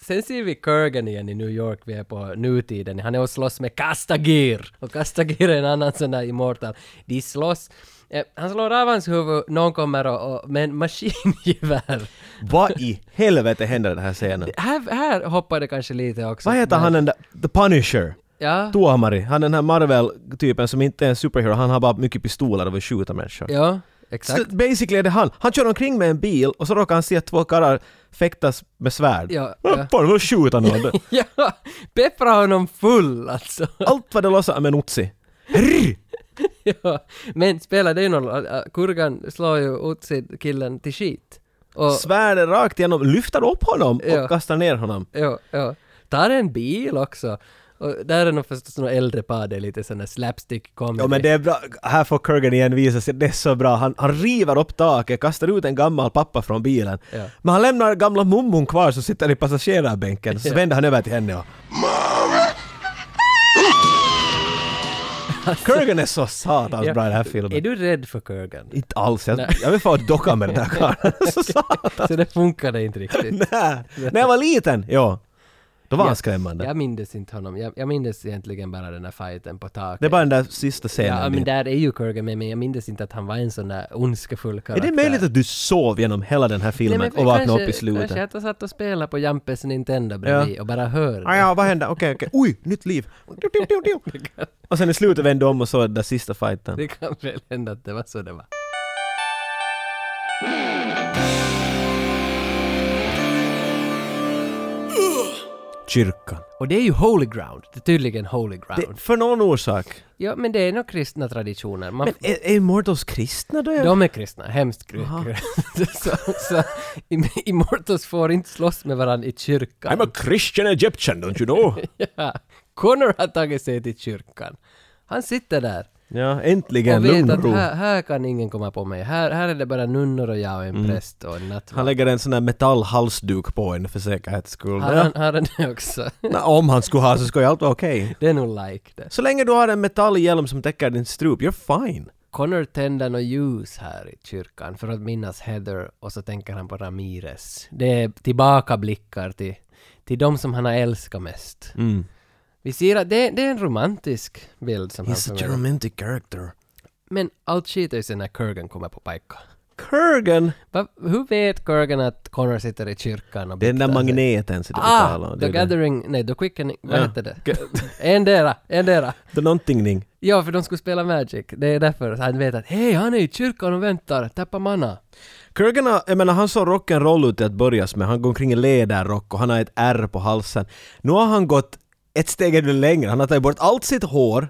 Sen ser vi Kurgan igen i New York, vi är på nutiden, han är och slåss med Kastagir! Och Kastagir är en annan sån där immortal. De slåss, eh, han slår av hans huvud, någon kommer och, och med en maskingevär.
Vad i helvete händer i den här scenen?
Här, här hoppar det kanske lite också.
Vad heter
men-
han den där, The Punisher?
Ja.
Tuomari, han den här Marvel-typen som inte är en superhero, han har bara mycket pistoler och vill skjuta människor.
Ja, exakt.
Så basically är det han. Han kör omkring med en bil och så råkar han se att två karlar fäktas med svärd.
Ja,
Vad
ja.
Fan, vad skjuta någon?
ja, peppra honom full alltså.
Allt vad det låtsas med en otsi.
ja, men spelar det ju någon roll? Äh, Kurgan slår ju ut sin killen till skit. Och,
Svärdet rakt igenom, lyfter upp honom och
Ja.
kastar ner honom.
ja, ja. Tar en bil också. Och där är nog förstås några äldre par, det är lite sån där slapstick comedy.
Ja men det är bra, här får Kurgan igen visa sig, det är så bra. Han, han river upp taket, kastar ut en gammal pappa från bilen.
Ja.
Men han lämnar gamla mummon kvar som sitter i passagerarbänken, så vänder han över till henne och... Kurgan är så satans
Ja.
bra i den här filmen.
Är du rädd för Kurgan?
Inte alls, jag, jag vill få en docka med den där karlen. så satans...
Så det funkade inte riktigt.
Nä. När jag var liten, ja. Då var
Ja.
han skrämmande.
Jag mindes inte honom. Jag, jag mindes egentligen bara den här fighten på taket.
Det är bara den där sista scenen.
Ja, men
din.
där är ju Kurgan med, men jag mindes inte att han var en sån där ondskefull
Är
karaktär.
det möjligt att du sov genom hela den här filmen
Nej, men
och vaknade
kanske-
upp i slutet?
Kanske att jag satt och spelade på Jampes Nintendo bredvid
Ja.
och bara hör.
Ah, ja, vad hände? Okej, okej. Oj, nytt liv! Du, du, du, du. Och sen i slutet vände om och så den där sista fighten.
Det kan väl hända att det var så det var.
Kyrkan.
Och det är ju holy ground. Det är tydligen holy ground.
Det, för någon orsak.
Ja, men det är nog kristna traditioner. Man,
Men är, är Immortals kristna då?
de är kristna, hemskt kristna.
Aha.
så, så im- Immortals får inte slåss med varandra i kyrkan.
I'm a Christian Egyptian, don't you know?
ja. Connor har tagit sig till kyrkan. Han sitter där
ja, äntligen.
och vet
Lugn och
att
ro.
här, här kan ingen komma på mig. Här, här är det bara nunnor och jag och en präst och en nattvakt.
Mm. Han lägger en sån där metallhalsduk på en för säkerhets skull.
Har
Ja.
han, har han det också?
Nej, Om han skulle ha så skulle ju allt vara okej.
Det är nog like det.
Så länge du har en metallhjälm som täcker din strup, you're fine.
Connor tänder något ljus här i kyrkan för att minnas Heather och så tänker han på Ramirez. Det är tillbakablickar till, till de som han har älskat mest.
Mm.
Vi ser att det, det är en romantisk bild som
He's
han
such a
förmedlar.
romantic character.
Men allt skiter sig när Kurgan kommer på pajka.
Kurgan!
Va, hur vet Kurgan att Connor sitter i kyrkan och
Den där
biktar sig?
magneten som du talar
Ah!
om.
The
det är det.
Gathering, nej, The Quickening, vad
Ja.
hette det? endera, endera.
The någontingning.
Ja, för de skulle spela Magic. Det är därför han vet att hej, han är i kyrkan och väntar, tappa manna.
Kurgan har, jag menar han såg rock'n'roll ut till att börjas med. Han går omkring i läderrock och han har ett ärr på halsen. Nu har han gått ett steg ännu längre. Han har tagit bort allt sitt hår.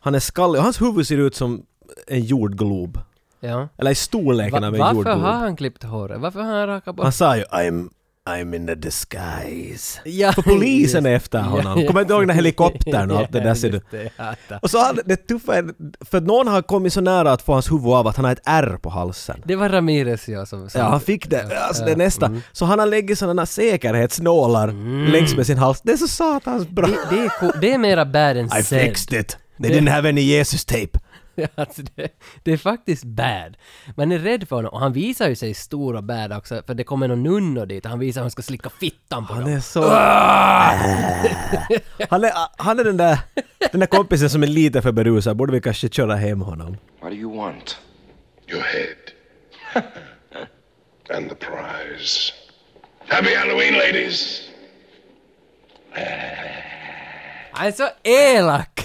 Han är skallig och hans huvud ser ut som en jordglob.
Ja.
Eller i storleken
Va-
av en
varför
jordglob.
har han klippt håret? Varför har han rakat bort?
Han sa ju I'm, I'm in the disguise.
Ja,
För polisen är
just-
efter
ja,
honom.
ja.
Kommer inte ihåg den här helikoptern och allt det där ser du.
Just det, ja, ta.
Och så har han det tuffa är- för att någon har kommit så nära att få hans huvud av att han har ett ärr på halsen.
Det var Ramirez ja som... som
Ja, han fick det. Alltså, det är nästa.
Mm.
Så han har lägger sådana säkerhetsnålar längs med sin hals. Det är så satans bra.
Det, det, är, ko- det är mera bad än
I
said.
fixed it. They
Det-
didn't have any Jesus tape.
alltså, det, det är faktiskt bad. Man är rädd för honom och han visar ju sig stor och bad också för det kommer någon nunnor dit och han visar hur han ska slicka fittan på
Han
dem.
är så...
Ah!
han, är, han är den där... Den där kompisen som är lite för berusad. Borde vi kanske köra hem honom?
What do you want?
Your head. and the prize. Happy Halloween, ladies!
Han är så elak!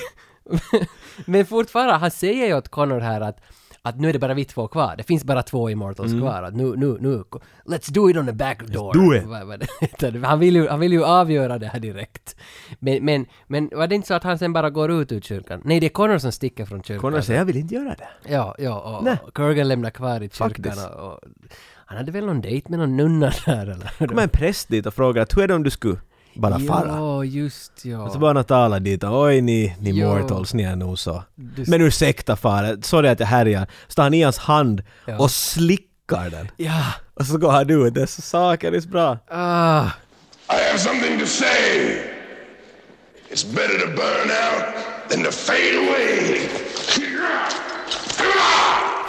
Men fortfarande, han säger ju åt Connor här att att nu är det bara vi två kvar, det finns bara två Immortals kvar. Att nu, nu, nu, let's do it on the back door.
Mm. do it.
Vad- vad det heter. Han, vill ju, han vill ju avgöra det här direkt. Men, men, men var det inte så att han sen bara går ut ur kyrkan? Nej, det är Connor som sticker från kyrkan.
Connor säger jag vill inte göra det.
Ja, ja, och,
Nä.
och Kurgan lämnar kvar i kyrkan
Faktiskt.
och, och... Han hade väl någon dejt med någon nunna där eller?
Då kommer en präst dit och frågar att hur är det om du skulle bara fara?
Ja, just ja.
Och så bara Natala dit och oj ni, ni
Jo.
mortals, ni är nog så.
Du-
Men ursäkta far, sorry att jag härjar. Så tar han i hans hand
Ja.
och slickar den.
Ja.
Och så går han ut, det är så sakaniskt bra.
Ah.
I have something to say. It's better to burn out than to fade away.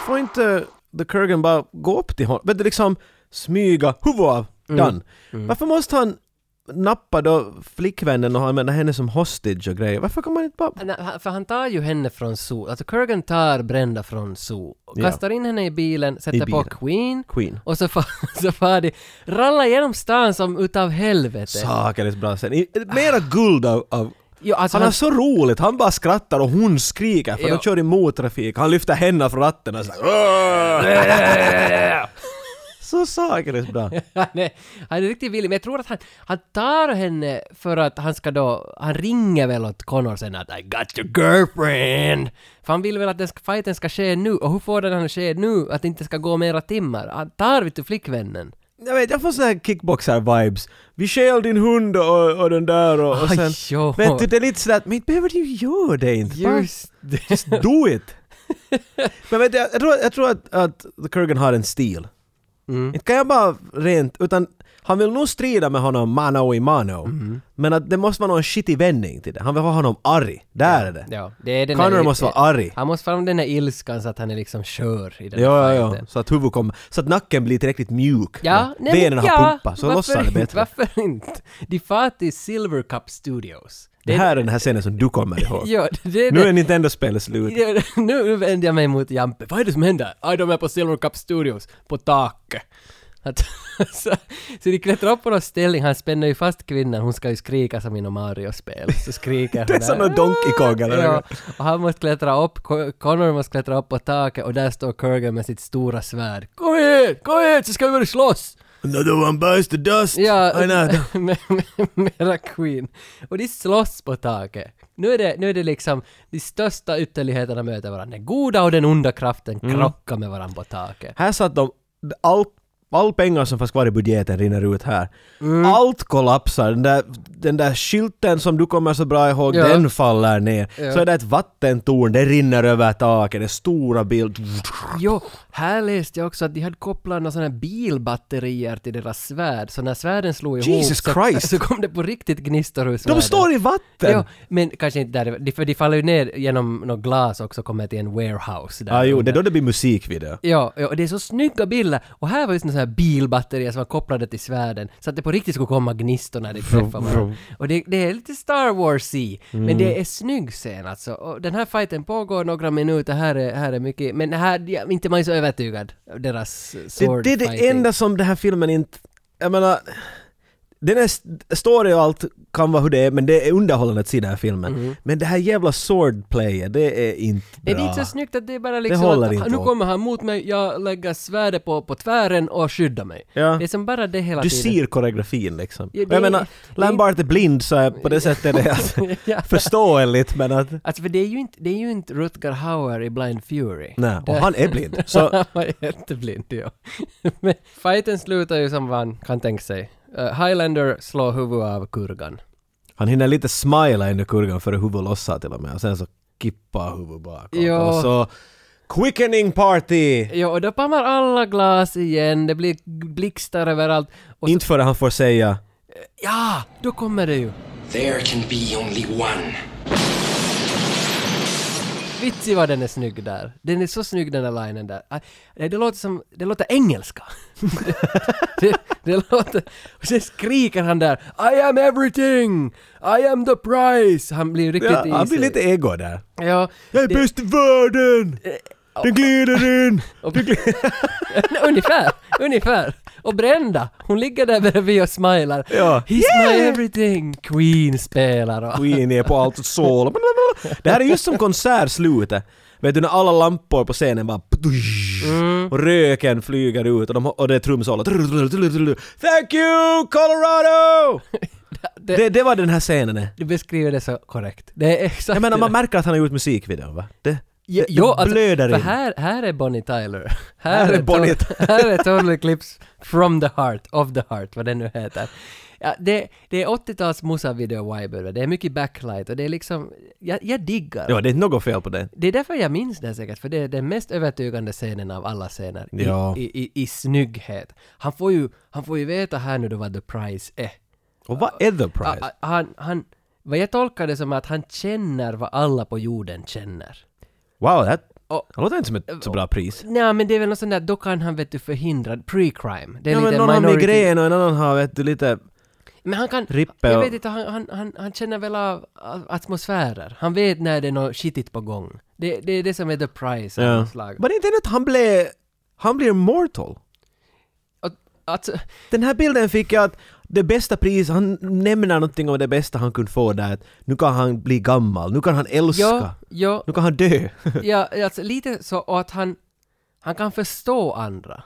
får inte The Kurgan bara gå upp till honom? Vet du, liksom smyga, huvud av,
Mm.
done.
Mm.
Varför måste han nappa då flickvännen och använda henne som hostage och grejer? Varför kan man inte bara...
Nej, han- För han tar ju henne från Zoo. Alltså Kurgan tar Brenda från Zoo. och
Ja.
Kastar in henne i bilen, sätter på
bilen.
Queen.
Queen.
Och så far, så far de, rallar genom stan som utav helvete.
Saker är så bra sen. I- Mera guld av... av
Jo, alltså
han,
han-
har så roligt, han bara skrattar och hon skriker för
Ja.
de kör i mottrafik. Han lyfter henne från ratten och så här, Så saker är så bra.
han, är, han är riktigt villig, men jag tror att han, han tar henne för att han ska då, han ringer väl åt Connor sen att I got your girlfriend. För han vill väl att den ska, fighten ska ske nu, och hur får den han ske nu? Att det inte ska gå mera timmar? Han tar vet du flickvännen.
Jag vet, jag får såna här kickboxar-vibes. Vi stjäl din hund och, och den där och, och
Aj,
sen...
jo.
Vet du, det är lite sådär, men inte behöver du ju göra det inte. Bara-
Just det.
Just do it! men vet du, jag, jag tror, jag tror att, att Kurgan har en stil.
Mm.
Inte kan jag bara rent, utan han vill nog strida med honom mano i mano.
Mm.
Men att det måste vara någon shitty vändning till det. Han vill ha honom arg. Där är det.
Ja, det är den
Connor
där-
måste vara arg.
Han måste fram den där ilskan så att han är liksom kör i den
Ja,
här
ja, ja.
fighten.
Så att huvudet kommer, så att nacken blir tillräckligt mjuk.
Ja, nej, men
Benen har
ja,
pumpat, så
varför
lossar det
inte-
bättre.
Varför inte? De far till Silver Cup Studios.
Det här är den här scenen som du kommer ihåg.
Ja, det är
nu
det.
är Nintendo-spelet slut.
Ja, nu nu vänder jag mig mot Jampe. Vad är det som händer? Aj, de är på Silver Cup Studios, på taket. Att, så, så de klättrar upp på någon ställning, han spänner ju fast kvinnan, hon ska ju skrika som inom Mario-spel. Så skriker hon
Det är
där.
som någon Donkey Kong eller
Ja,
något.
och han måste klättra upp, Co- Connor måste klättra upp på taket och där står Kurgan med sitt stora svärd. Kom hit, kom hit så ska vi väl slåss!
Another one bites the dust!
Ja,
I know.
med- med- mera Queen. Och de slåss på taket. Nu är, det, nu är det liksom de största ytterligheterna möter varandra. Den goda och den onda kraften
Mm.
krockar med varandra på taket.
Här satt de, all, all pengar som fanns kvar i budgeten rinner ut här.
Mm.
Allt kollapsar, den där, den där skylten som du kommer så bra ihåg,
Ja.
den faller ner.
Ja.
Så är det ett vattentorn, det rinner över taket, det är stora bild...
Jo, här läste jag också att de hade kopplat några såna här bilbatterier till deras svärd, så när svärden slog ihop
Jesus
så,
Christ.
så kom det på riktigt gnistor ur svärden.
De står i vatten!
Jo, men kanske inte där, de- för de faller ju ner genom något glas också, kommer till en warehouse där.
Ja, ah, jo, det är då det blir musikvideo.
Ja, ja, och det är så snygga bilder. Och här var just några sådana här bilbatterier som var kopplade till svärden, så att det på riktigt skulle komma gnistor när det träffar varandra.
vroom.
Och det, det är lite Star Wars-y, men
Mm.
det är snygg scen alltså. Och den här fighten pågår några minuter, här är, här är mycket, men här, ja, inte man är så övertygad av deras eh,
Det,
sword
det är det
fighting.
enda som den här filmen inte... Jag menar... Den är st- story och allt kan vara hur det är, men det är underhållandet i den här filmen. Men det här jävla swordplayet, det är inte
Nej,
bra.
det Mm. är inte så snyggt att det är bara liksom
håller
att
inte
nu
åt.
kommer han mot mig, jag lägger svärdet på, på tvären och skyddar mig.
Ja.
Det är som bara det hela
Du
tiden.
ser koreografin liksom.
Ja,
Och
det är-
jag menar,
det är-
Lambart är blind så är på det sättet är det alltså
Ja.
förståeligt men att...
Alltså för det är ju inte, det är ju inte Rutger Hauer i Blind Fury.
Nej, och
Det-
han är blind, så-
han var jätteblind, ja. Men fighten slutar ju som man kan tänka sig. Eh, Highlander slår huvudet av kurgan.
Han hinner lite smila under kurgan före huvudet lossar till och med och sen så kippar huvudet bakåt
Ja.
och så... Quickening party!
Ja, och då pammar alla glas igen, det blir blixtar överallt. Och
Inte före han får säga
ja, då kommer det ju.
There can be only one.
Vitsi vad den är snygg där. Den är så snygg den där linen där. Ah, Det låter som, det låter engelska. det, det låter... Och sen skriker han där I am everything! I am the price! Han blir riktigt
ja, Han blir
isig.
lite ego där. Eh,
Ja,
Jag är
det-
bäst i världen! Den glider in!
Och, ungefär, ungefär. Och Brenda, hon ligger där bredvid och smilar.
Ja.
He's my everything! Queen spelar och...
Queen är på allt sol. Det här är just som konsertslutet. Vet du när alla lampor på scenen bara... Och röken flyger ut och, de, och det är trumsolot. Thank you Colorado!
Det-
Det, det var den här scenen.
Du beskriver det så korrekt. Det är exakt
Jag menar
det
man märker att han har gjort musikvideon va? Det, det,
Jo,
det
alltså,
blöder
för
in.
här, här är Bonnie Tyler.
Här är
to-
Bonnie
här är Total Eclipse from the heart, of the heart, vad det nu heter. Ja, det, det är 80-tals musa-video-vibe det är mycket backlight och det är liksom, jag, jag diggar.
Ja, det är inte något fel på det.
Det är därför jag minns den säkert, för det är den mest övertygande scenen av alla scener i,
Ja.
i, i, i snygghet. Han får, ju, han får ju veta här nu då vad the prize är.
Och vad är the
Ah,
prize?
ah, Han, han, vad jag tolkar det som att han känner vad alla på jorden känner.
Wow, that, Det låter inte som ett så bra pris.
Nej men det är väl något sånt där, då kan han vet du förhindra pre-crime. Det är
Ja, men
lite
någon har
minority.
migrän och en annan har vet du lite...
Men han kan...
Rippe
jag
och-
vet inte, han, han, han, han känner väl av av atmosfärer. Han vet när det är något skitigt på gång. Det, det är det som är the price av
Ja.
något slag.
Men det är inte ännu att han blev... Han blir mortal.
Alltså,
Den här bilden fick jag att det bästa pris, han nämner någonting om det bästa han kunde få där. att Nu kan han bli gammal, nu kan han älska,
ja, ja,
nu kan han dö.
ja, alltså lite så och att han, han kan förstå andra.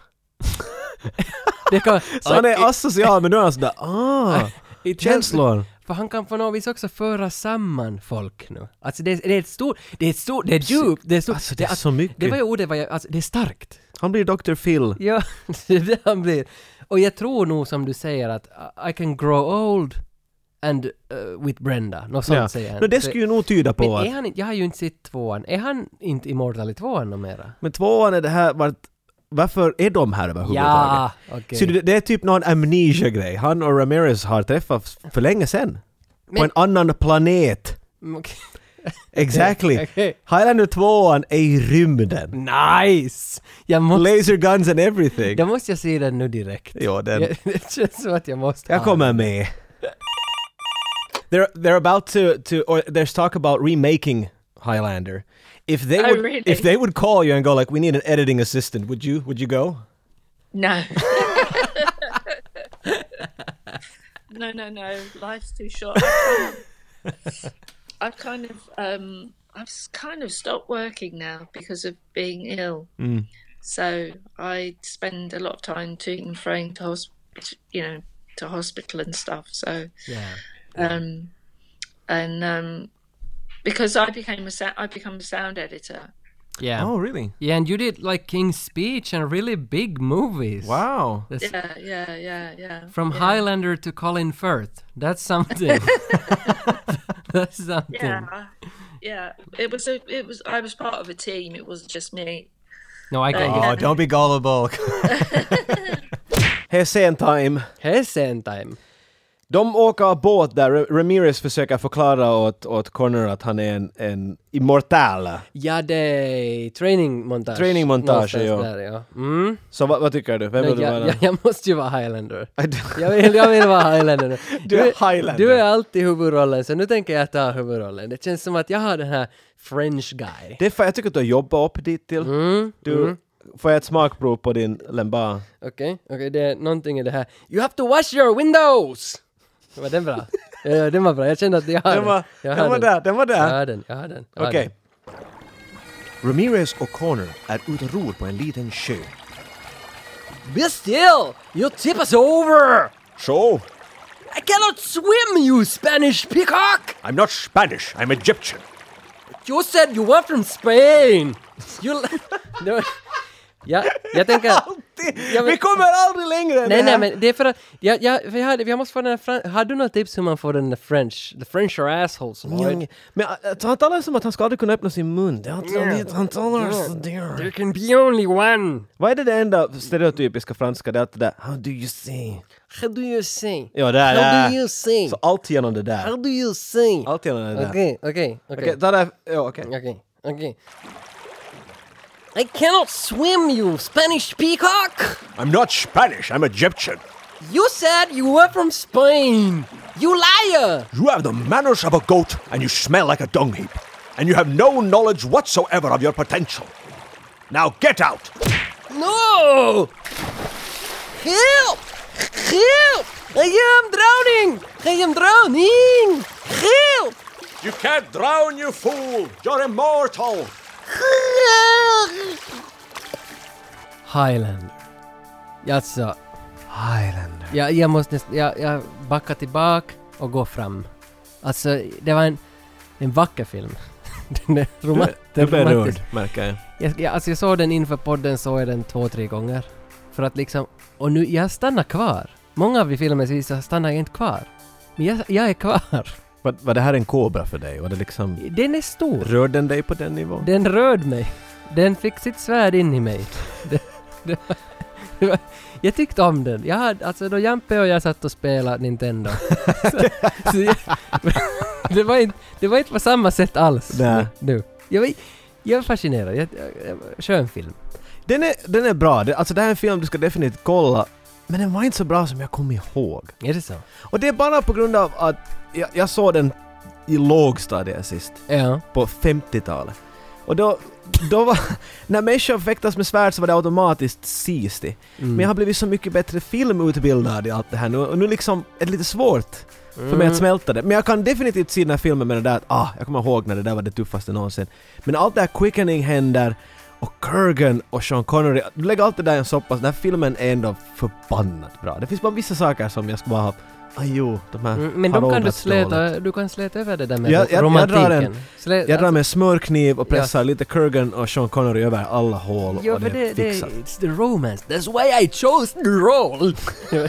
det kan,
Så han är asocial men nu är han sådär ah,
It
känslor.
helps. För han kan på något vis också föra samman folk nu. Alltså det är, det är ett stort, det är ett stort, det är djupt, det är stort.
Alltså, det är så mycket.
Det var ju ordet, vad jag, alltså, det är starkt.
Han blir Dr. Phil.
Ja, det är det han blir. Och jag tror nog som du säger att uh, I- I can grow old and uh, with Brenda. Något sånt
Ja.
säger han.
Nå, det skulle ju nog tyda på
Men är
att-
han inte, jag har ju inte sett tvåan. Är han inte immortal i tvåan numera?
Men tvåan är det här vart varför är de här
Ja,
överhuvudtaget?
okej.
Så det, det är typ någon amnesia-grej. Han och Ramirez har träffats för länge sedan. På en annan planet.
Mm, okej.
Exactly.
Okej.
Highlander 2 är i rymden.
Nice! Jag måste,
Laser guns and everything.
då måste jag se den nu direkt.
Ja, den-
Jag, det känns som att jag måste
Jag
ha
kommer med. They're, they're about to, to or there's talk about remaking Highlander. If they
Oh,
would
really?
if they would call you and go like we need an editing assistant, would you would you go?
No. no, no, no. Life's too short. I've kind of, um, I've s- kind of stopped working now because of being ill.
Mm.
So I spend a lot of time to and froing to, hosp- you know, to hospital and stuff. So,
Yeah.
um, and um, because I became a, sa- I become a sound editor.
Yeah.
Oh, really?
Yeah, and you did like King's Speech and really big movies.
Wow.
That's-
Yeah, Uh, yeah, yeah, yeah.
From
yeah.
Highlander to Colin Firth. That's something. That's something.
Yeah, yeah. It was a. It was. I was part of a team. It wasn't just me.
No, I can
Oh,
get
don't be gullible. Hesen time.
Hesen time.
De åker båt där Ra- Ramirez försöker förklara åt, åt Connor att han är en, en immortal.
Ja, det är training montage.
Training montage,
Någonstans
ja.
Där, ja. Mm.
Så vad, vad tycker du? Vem
Nej,
vill du
jag,
vara?
jag, jag måste ju vara highlander.
du-
jag, vill, jag vill vara highlander nu.
Du är highlander.
Du är alltid huvudrollen, så nu tänker jag ta huvudrollen. Det känns som att jag har den här french guy.
Det är för jag tycker att du har jobbat upp dit till. Du,
mm.
Får jag ett smakprov på din lemba?
Okej, okej, det är någonting i det här. You have to wash your windows! Var den bra? ja, ja, den var bra. Jag kände att jag har
Den var-
jag
den
har
var där, den var där.
Jag har den, jag har den. jag har
Okej.
den.
Ramirez och Connor är ute och ror på en liten sjö.
Be still! You tip us over!
So,
I cannot swim you Spanish peacock!
I'm not Spanish, I'm Egyptian.
You said you were from Spain! You... no. Ja, jag tänker... Ja, men-
Vi kommer aldrig längre än
Nej,
det här.
nej, men det är för att... Jag, jag, för jag, hade, jag måste få den här... Fran- Har du något tips hur man får den där French... The French are assholes, Lloyd?
Young. Men alltså, han talar som att han ska aldrig kunna öppna sin mun. Det är alltid- Han talar sådär.
There can be only one!
Vad är det, det enda stereotypiska franska? Det är alltid det där “How do you sing?”
How do you sing?
Ja, det är
How
det.
do you sing?
Så allt genom det
How
där.
do you sing?
Allt genom det där.
Okej, okej, okej.
Okej, ta det... Ja, okej.
Okej, okej. I cannot swim you Spanish peacock!
I'm not Spanish, I'm Egyptian.
You said you were from Spain! You liar!
You have the manners of a goat and you smell like a dung heap. And you have no knowledge whatsoever of your potential. Now get out!
No! Help! Help! I am drowning! I am drowning! Help!
You can't drown, you fool! You're immortal!
Highlander. Alltså,
Highlander.
jag, jag måste nästan, jag, jag backar tillbaka och går fram. Alltså, det var en, en vacker film. Den är
Du,
roma- den
du
är
blir
romantisk.
rörd, märker jag.
Jag, jag, alltså jag såg den inför podden, såg jag den två, tre gånger. För att liksom, och nu, jag stannar kvar. Många av de filmer som visas stannar jag inte kvar. Men jag, jag är kvar.
Var, var det här en kobra för dig? Var det liksom...
Den är stor.
Rör den dig på den nivån?
Den rörde mig. Den fick sitt svärd in i mig. Det, det, var- det var, jag tyckte om den. Jag hade, alltså då Jampe och jag satt och spelade Nintendo. så, så jag, det, var inte, det var inte på samma sätt alls
Nej.
nu. Jag, var- Jag är fascinerad. Jag, jag, jag, skön film.
Den är, den är bra. Det- Alltså det här är en film du ska definitivt kolla. Men den var inte så bra som jag kom ihåg.
Är det så?
Och det är bara på grund av att jag, jag såg den i lågstadiet sist.
Ja.
På 50-talet. Och då, då var... När människor fäktas med svärd så var det automatiskt sisti.
Mm.
Men jag har blivit så mycket bättre filmutbildad i allt det här nu och nu liksom är det lite svårt för
Mm.
mig att smälta det. Men jag kan definitivt se den här filmen med det där att ah, jag kommer ihåg när det där var det tuffaste någonsin. Men allt det här quickening händer och Kurgan och Sean Connery, du lägger allt det där i en soppa så den här filmen är ändå förbannat bra. Det finns bara vissa saker som jag ska bara ha, ah, jo, de här
Mm, Men
har
de kan du
åldrats dåligt."
släta, du kan släta över det där med
Jag, jag, jag
romantiken.
drar en,
Slä- alltså-
jag drar med en smörkniv och
Ja.
pressar lite Kurgan och Sean Connery över alla hål
Ja,
och
Alltså- för
det,
det,
är
det,
fixat.
it's the romance, that's why I chose the role! Mm. jag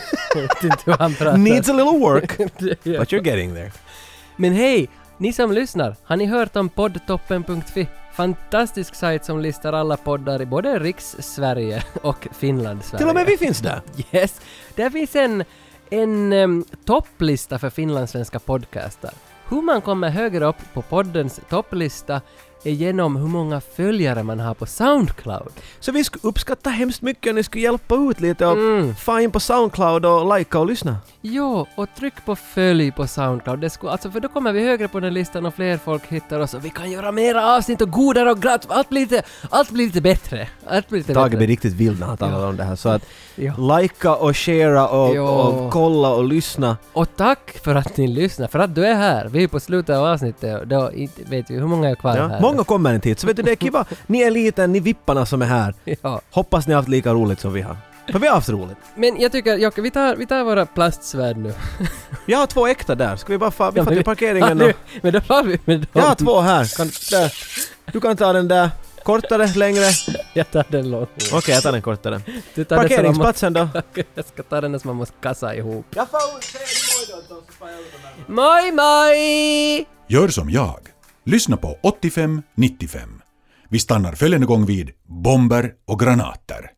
vet inte hur han pratar.
Needs a little work,
Ja.
but you're getting there.
Men hej, ni som lyssnar, har ni hört om poddtoppen.fi? Fantastisk sajt som listar alla poddar i både Riks-Sverige och Finland-Sverige.
Till och med vi finns där!
Yes! Där finns en, en em, topplista för finlandssvenska podcaster. Hur man kommer högre upp på poddens topplista är genom hur många följare man har på Soundcloud.
Så vi skulle uppskatta hemskt mycket om ni skulle hjälpa ut lite och
Mm.
få in på Soundcloud och likea och lyssna.
Jo, och tryck på följ på Soundcloud. Det skulle, alltså, för då kommer vi högre på den listan och fler folk hittar oss och vi kan göra mera avsnitt och godare och glatt. Allt blir lite, allt blir lite bättre. Allt blir lite
Tage blir
bättre.
riktigt vild när han talar om det här så att
Ja.
likea och sharea och,
Ja.
och kolla och lyssna.
Och tack för att ni lyssnar, för att du är här. Vi är på slutet av avsnittet och då inte, vet vi hur många är kvar
Ja.
här.
Många kommer inte hit så vet du det är kiva. Ni är liten, ni vipparna som är här.
Ja.
Hoppas ni har haft lika roligt som vi har. För vi har haft roligt.
Men jag tycker, Jocke, vi tar, vi tar våra plastsvärd nu.
Jag har två äkta där, ska vi bara fa- vi
Ja,
får
men-
till parkeringen
Ja,
och...
nu- Men då får vi med dem.
Jag har två här. Kan, där. Du kan ta den där. Kortare, längre. Okej,
Jag tar den långt.
jag tar den kortare.
Du tar den som man måste-
Parkeringsplatsen då?
Jag ska ta den där som man måste kassa ihop.
Jag får säga moj då, så får jag ut den där.
Moj, moj!
Gör som jag. Lyssna på 85-95. Vi stannar följande gång vid bomber och granater.